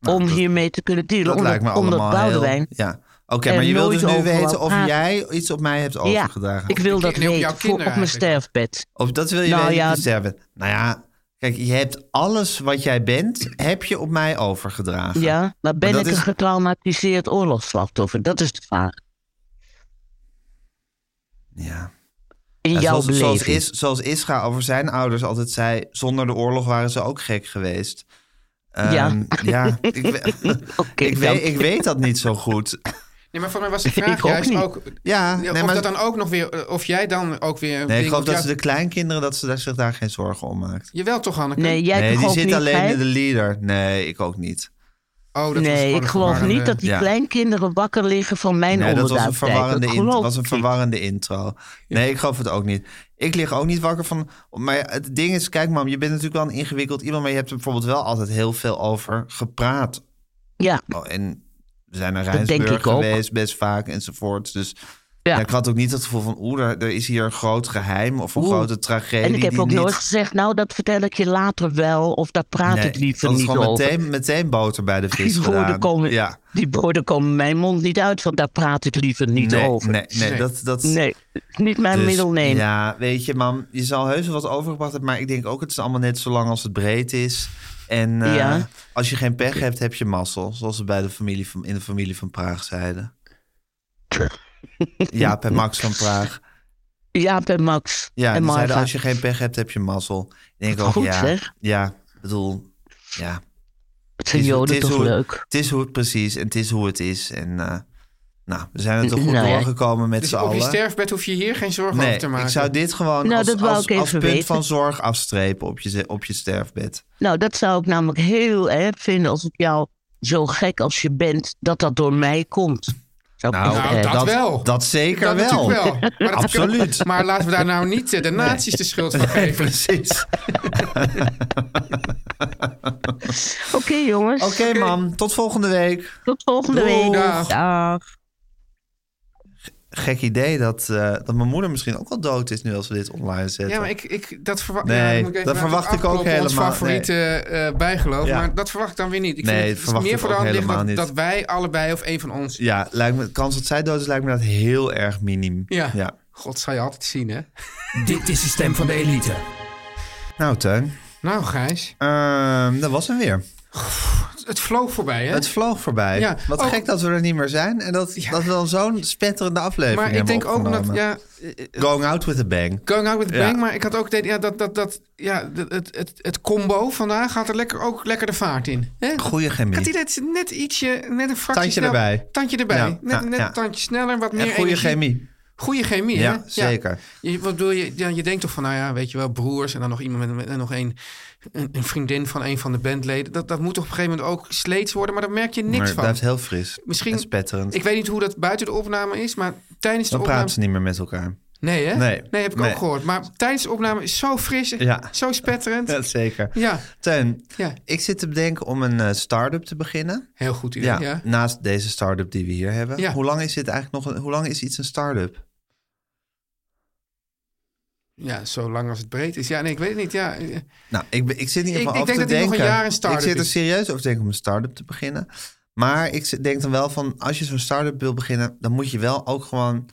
Nou, om dat- hiermee te kunnen dealen. Dat omdat, lijkt me omdat allemaal heel... Boudewijn Ja. Oké, er maar je wil nooit dus nu over weten wou of praten. jij iets op mij hebt overgedragen. Ik wil dat Nee, op jouw weten voor kinderen op mijn eigenlijk. sterfbed. Op dat wil je Nou weten ja. te sterven. Nou ja, kijk, je hebt alles wat jij bent, heb je op mij overgedragen. Ja, maar ben dat ik is- een getraumatiseerd oorlogsslachtoffer? Dat is de vraag. Ja. In Ja, jouw zoals, zoals, beleving. Is, zoals Isra over zijn ouders altijd zei, zonder de oorlog waren ze ook gek geweest. Ehm, Ja. ja ik, we- Oké, ik, dan. weet, ik weet dat niet zo goed. Nee, maar voor mij was de Ik vraag ook juist niet. ook... Ja, Ja, nee, of maar, dat dan ook nog weer... eh, Of jij dan ook weer... nee, ik dingen geloof op dat jou- ze de kleinkinderen dat ze daar, zich daar geen zorgen om maakt. Jawel toch, Hanneke? Nee, jij nee, die gelooft zit niet, alleen Gijs? in de leader. Nee, ik ook niet. Oh, dat was Nee, gewoon ik een geloof verwarrende- niet dat die ja. kleinkinderen wakker liggen van mijn Nee, dat was een onderduikdijk. verwarrende, in- geloof was een ik. verwarrende intro. Nee, ik geloof het ook niet. Ik lig ook niet wakker van. Maar het ding is, kijk, mam, je bent natuurlijk wel een ingewikkeld iemand, maar je hebt er bijvoorbeeld wel altijd heel veel over gepraat. Ja, Oh, en we zijn naar denk Rijnsburg ik ook. geweest, best vaak enzovoort. Dus Ja. ja, ik had ook niet het gevoel van, oeh, er, er is hier een groot geheim of een Oeh. grote tragedie. en ik heb die ook niet... nooit gezegd, nou dat vertel ik je later wel, of daar praat Nee, ik liever dat is niet gewoon over. meteen, meteen boter bij de vis Die woorden, gedaan. komen, ja. die woorden komen mijn mond niet uit, want daar praat ik liever niet nee, over. Nee, nee, Nee. Dat, dat, Nee, niet mijn Dus, middel nemen. Ja, weet je, man, je zal heus wel wat overgebracht hebben. Maar ik denk ook, het is allemaal net zo lang als het breed is. En eh, Ja. als je geen pech hebt, heb je mazzel. Zoals ze bij de familie van, in de familie van Praag zeiden. Jaap en Max van Praag. Jaap en Max Ja, en die Marga. zeiden, als je geen pech hebt, heb je mazzel. Ik denk ook, Goed, ja, zeg. ja, ik bedoel, ja. het zijn is- Joden het is toch hoe- leuk. Het is hoe het precies en het is hoe het is. En eh, nou, we zijn er toch goed Nou ja. doorgekomen met Dus z'n op je allen. sterfbed hoef je hier geen zorgen Nee, over te maken. ik zou dit gewoon Nou, als, dat wou als, ik als even punt weten. van zorg afstrepen op je, ze- op je sterfbed. Nou, dat zou ik namelijk heel erg vinden als ik jou zo gek als je bent, dat dat door mij komt. Zou ik Nou, echt Nou, erg- dat wel. Dat zeker dat wel. natuurlijk wel. Maar dat- Absoluut. Maar laten we daar nou niet eh, de nazi's de schuld van Nee, geven. precies. Oké jongens, Oké, man. Tot volgende week. tot volgende Doeg. week. Dag. Dag. Gek idee dat, eh, dat mijn moeder misschien ook al dood is nu als we dit online zetten. Ja, maar ik, ik, dat, verwacht. Nee, ja, dan moet ik even dat laten verwacht ik ook afkloppen, Ons helemaal, favoriete eh, bijgeloof, Ja. maar dat verwacht ik dan weer niet. Ik Nee, vind dat het verwacht meer ik voor de ook hand ligt dat, helemaal dat wij allebei of een van ons... Ja, lijkt me, de kans dat zij dood is lijkt me dat heel erg minim. Ja. God, zou je altijd zien, hè? Dit is de stem van de elite. Nou, Teun. Nou, Gijs, ehm, dat was hem weer. het vloog voorbij, hè? Het vloog voorbij. Ja, Oh. Wat ook- gek dat we er niet meer zijn. En dat, dat we dan zo'n spetterende aflevering maar ik hebben denk ook dat... opgenomen. Ja, Going out with a bang. Going out with Ja. bang, maar ik had ook het idee, ja, dat, dat, dat, ja, dat- het, het, het combo vandaag gaat er lekker, ook lekker de vaart in. Hè? Ik Goeie had het chemie. idee dat ze net ietsje, net een fractie Tandje sneller- erbij. Tandje erbij. Ja, Net, ja, net ja. een tandje sneller, wat En meer goede energie. chemie. Goede chemie, hè? Ja, zeker. Je, wat bedoel je? Ja, je denkt toch van, nou ja, weet je wel, broers en dan nog iemand met, met- en nog een, een, een vriendin van een van de bandleden. Dat, dat moet toch op een gegeven moment ook sleets worden, maar daar merk je niks maar het van. blijft heel fris. Misschien- En spetterend. Ik weet niet hoe dat buiten de opname is, maar tijdens de Dan opname... praten ze niet meer met elkaar. Nee, hè? Nee. heb ik Nee. ook gehoord. Maar tijdens de opname is zo fris, Ja. zo spetterend. Ja, zeker. Ja, Teun, ja. ik zit te bedenken om een eh, start-up te beginnen. Heel goed idee. Ja, Ja. ja. Naast deze start-up die we hier hebben. Ja. Hoe lang is dit eigenlijk nog? een- Hoe lang is iets een start-up? zo lang als het breed is. Ja, nee, ik weet het niet. Ja, eh, Nou, ik, ben- ik zit in Ik- ieder geval ik af denk te dat die nog denken. een jaar een start-up Ik zit er is. serieus over te denken om een start-up te beginnen. Maar ik zit- denk dan wel van, als je zo'n start-up wil beginnen, dan moet je wel ook gewoon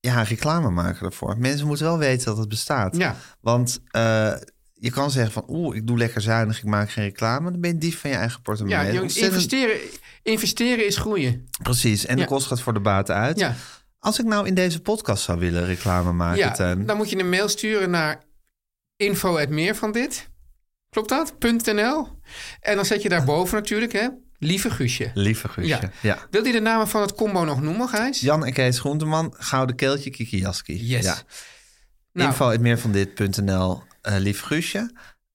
ja, reclame maken daarvoor. Mensen moeten wel weten dat het bestaat. ja. Want eh, je kan zeggen van, oeh, ik doe lekker zuinig, ik maak geen reclame. Dan ben je dief van je eigen portemonnee. ja Dat is jongens, ontzettend- investeren, investeren is groeien. Precies, en Ja. de kost gaat voor de baat uit. Ja. Als ik nou in deze podcast zou willen reclame maken, ja, nou- Teun. dan moet je een mail sturen naar info meer van dit. Klopt dat? .nl. En dan zet je daarboven natuurlijk, hè? Lieve Guusje. Lieve Guusje. Ja. Ja. Wil je de namen van het combo nog noemen, Gijs? Jan en Kees Groenteman, Gouden Keeltje, Kiki Jaski. Yes. Ja. Nou, Info uit meer van dit.nl, eh lief Guusje.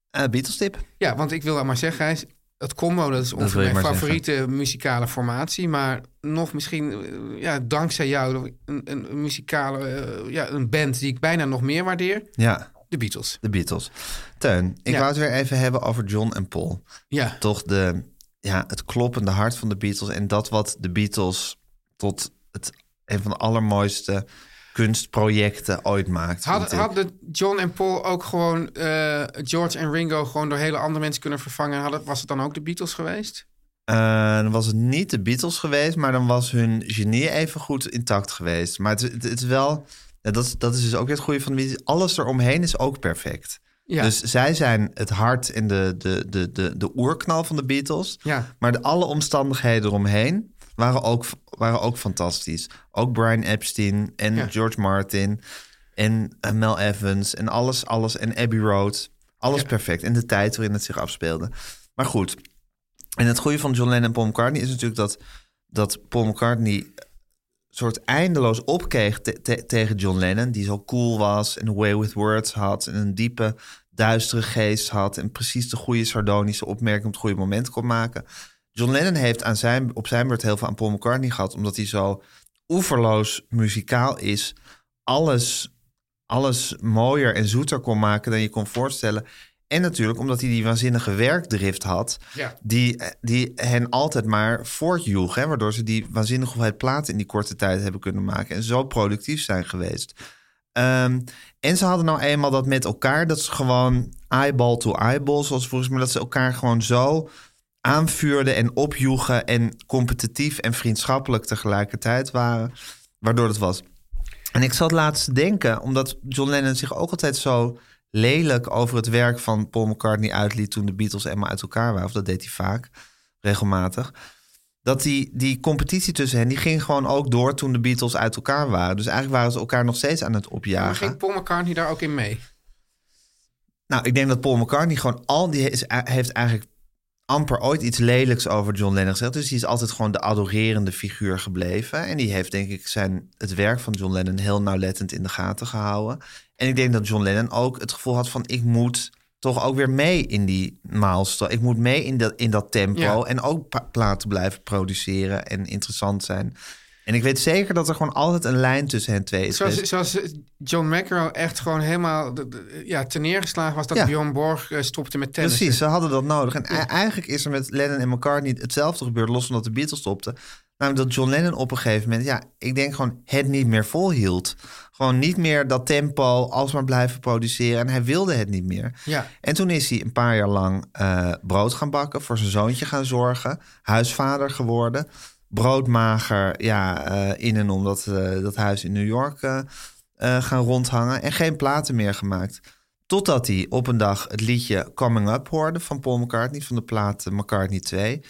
Eh Beatles tip. Ja, want ik wil dat maar zeggen, Gijs. Het combo, dat is wil ongeveer je mijn maar favoriete muzikale formatie. Maar nog misschien, eh, ja, dankzij jou, een, een, een muzikale eh, ja, een band die ik bijna nog meer waardeer. Ja, De Beatles. de Beatles. Teun, ik Ja. wou het weer even hebben over John en Paul. Ja, Toch de, ja, het kloppende hart van de Beatles. En dat wat de Beatles tot het, een van de allermooiste kunstprojecten ooit maakt. vind Had- ik. hadden John en Paul ook gewoon eh, George en Ringo gewoon door hele andere mensen kunnen vervangen? Hadden, was het dan ook de Beatles geweest? Eh, dan was het niet de Beatles geweest, maar dan was hun genie even goed intact geweest. Maar het, het, het is wel, ja, dat, is- dat is dus ook weer het goede van de Beatles. Alles eromheen is ook perfect. Ja. Dus zij zijn het hart en de, de, de, de, de oerknal van de Beatles. Ja. Maar de, alle omstandigheden eromheen waren ook, waren ook fantastisch. Ook Brian Epstein en Ja. George Martin en eh, Mel Evans en alles, alles. En Abbey Road. Alles perfect. En de tijd waarin het zich afspeelde. Maar goed. En het goede van John Lennon en Paul McCartney is natuurlijk dat, dat Paul McCartney soort eindeloos opkeeg te- te- tegen John Lennon, die zo cool was en a way with words had en een diepe, duistere geest had en precies de goede sardonische opmerking op het goede moment kon maken. John Lennon heeft aan zijn, op zijn beurt heel veel aan Paul McCartney gehad, omdat hij zo oeverloos muzikaal is, alles, alles mooier en zoeter kon maken dan je kon voorstellen. En natuurlijk omdat hij die waanzinnige werkdrift had, Ja. die, die hen altijd maar voortjoeg. Hè, waardoor ze die waanzinnige hoeveelheid platen in die korte tijd hebben kunnen maken. En zo productief zijn geweest. Ehm, en ze hadden nou eenmaal dat met elkaar, dat ze gewoon eyeball to eyeball, zoals volgens mij, dat ze elkaar gewoon zo aanvuurden en opjoegen en competitief en vriendschappelijk tegelijkertijd waren, waardoor dat was. En ik zat laatst te denken, omdat John Lennon zich ook altijd zo lelijk over het werk van Paul McCartney uitliet toen de Beatles eenmaal uit elkaar waren. Of dat deed hij vaak, regelmatig. Dat die, die competitie tussen hen, die ging gewoon ook door toen de Beatles uit elkaar waren. Dus eigenlijk waren ze elkaar nog steeds aan het Maar opjagen. ging Paul McCartney daar ook in mee? Nou, ik denk dat Paul McCartney gewoon al die is, eh, heeft eigenlijk amper ooit iets lelijks over John Lennon gezegd. Dus die is altijd gewoon de adorerende figuur gebleven. En die heeft denk ik zijn, het werk van John Lennon heel nauwlettend in de gaten gehouden. En ik denk dat John Lennon ook het gevoel had van ik moet toch ook weer mee in die maalstroom. Ik moet mee in dat, in dat tempo Ja. en ook pa- platen blijven produceren en interessant zijn. En ik weet zeker dat er gewoon altijd een lijn tussen hen twee is. Zoals, geweest. zoals eh, John McEnroe echt gewoon helemaal de- de- ja, ten neergeslagen was dat Ja. Bjorn Borg eh, stopte met tennis. Precies, ze hadden dat nodig. En e- eigenlijk is er met Lennon en McCartney hetzelfde gebeurd, los van dat de Beatles stopten. Namelijk dat John Lennon op een gegeven moment, ja, ik denk gewoon het niet meer volhield. Gewoon niet meer dat tempo, alsmaar blijven produceren. En hij wilde het niet meer. Ja. En toen is hij een paar jaar lang eh, brood gaan bakken, voor zijn zoontje gaan zorgen, huisvader geworden. Broodmager, ja, eh, in en om dat, eh, dat huis in New York eh, eh, gaan rondhangen. En geen platen meer gemaakt. Totdat hij op een dag het liedje Coming Up hoorde van Paul McCartney, van de plaat eh, McCartney 2.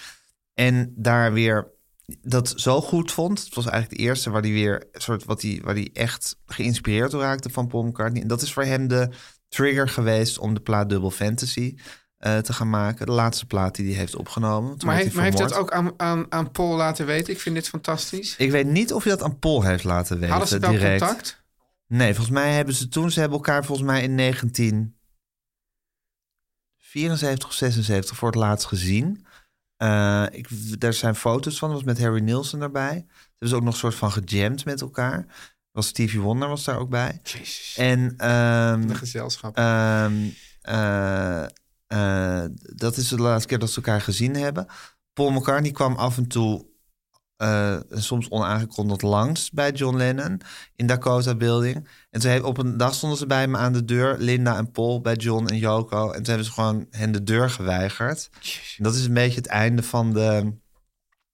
En daar weer dat zo goed vond. Het was eigenlijk de eerste waar hij weer een soort wat hij, waar hij echt geïnspireerd door raakte van Paul McCartney. En dat is voor hem de trigger geweest om de plaat Double Fantasy eh, te gaan maken. De laatste plaat die hij heeft opgenomen. Toen Maar, werd heeft, maar hij heeft dat vermoord. ook aan, aan, aan Paul laten weten? Ik vind dit fantastisch. Ik weet niet of hij dat aan Paul heeft laten weten. Hadden ze wel direct. contact? Nee, volgens mij hebben ze toen, ze hebben elkaar volgens mij in 1974 of 76 voor het laatst gezien. Eh, ik, daar zijn foto's van, dat was met Harry Nielsen daarbij. Ze hebben ze ook nog een soort van gejamd met elkaar. Was Stevie Wonder was daar ook bij. Jezus, En ehm, de gezelschap. Ehm, eh, eh, dat is de laatste keer dat ze elkaar gezien hebben. Paul McCartney kwam af en toe, eh, en soms onaangekondigd, langs bij John Lennon in Dakota Building. En toen heb, op een dag stonden ze bij me aan de deur, Linda en Paul, bij John en Yoko. En toen hebben ze gewoon hen de deur geweigerd. En dat is een beetje het einde van de,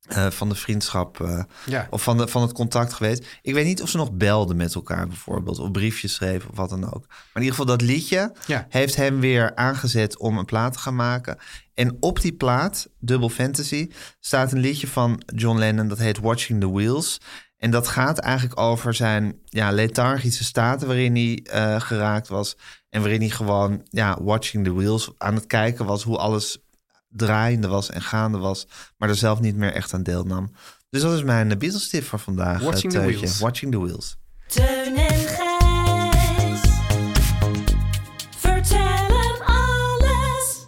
eh, van de vriendschap. eh, ja. of van, de, van het contact geweest. Ik weet niet of ze nog belden met elkaar bijvoorbeeld. Of briefjes schreven of wat dan ook. Maar in ieder geval dat liedje Ja. heeft hem weer aangezet om een plaat te gaan maken. En op die plaat, Double Fantasy, staat een liedje van John Lennon. Dat heet Watching the Wheels. En dat gaat eigenlijk over zijn ja, lethargische staten waarin hij eh, geraakt was. En waarin hij gewoon ja, watching the wheels aan het kijken was hoe alles draaiende was en gaande was, maar er zelf niet meer echt aan deelnam. Dus dat is mijn eh, Beatles-tip voor vandaag. eh, Watching the Teutje. Wheels. Watching the Wheels. Teun en Gijs. Vertel hem alles.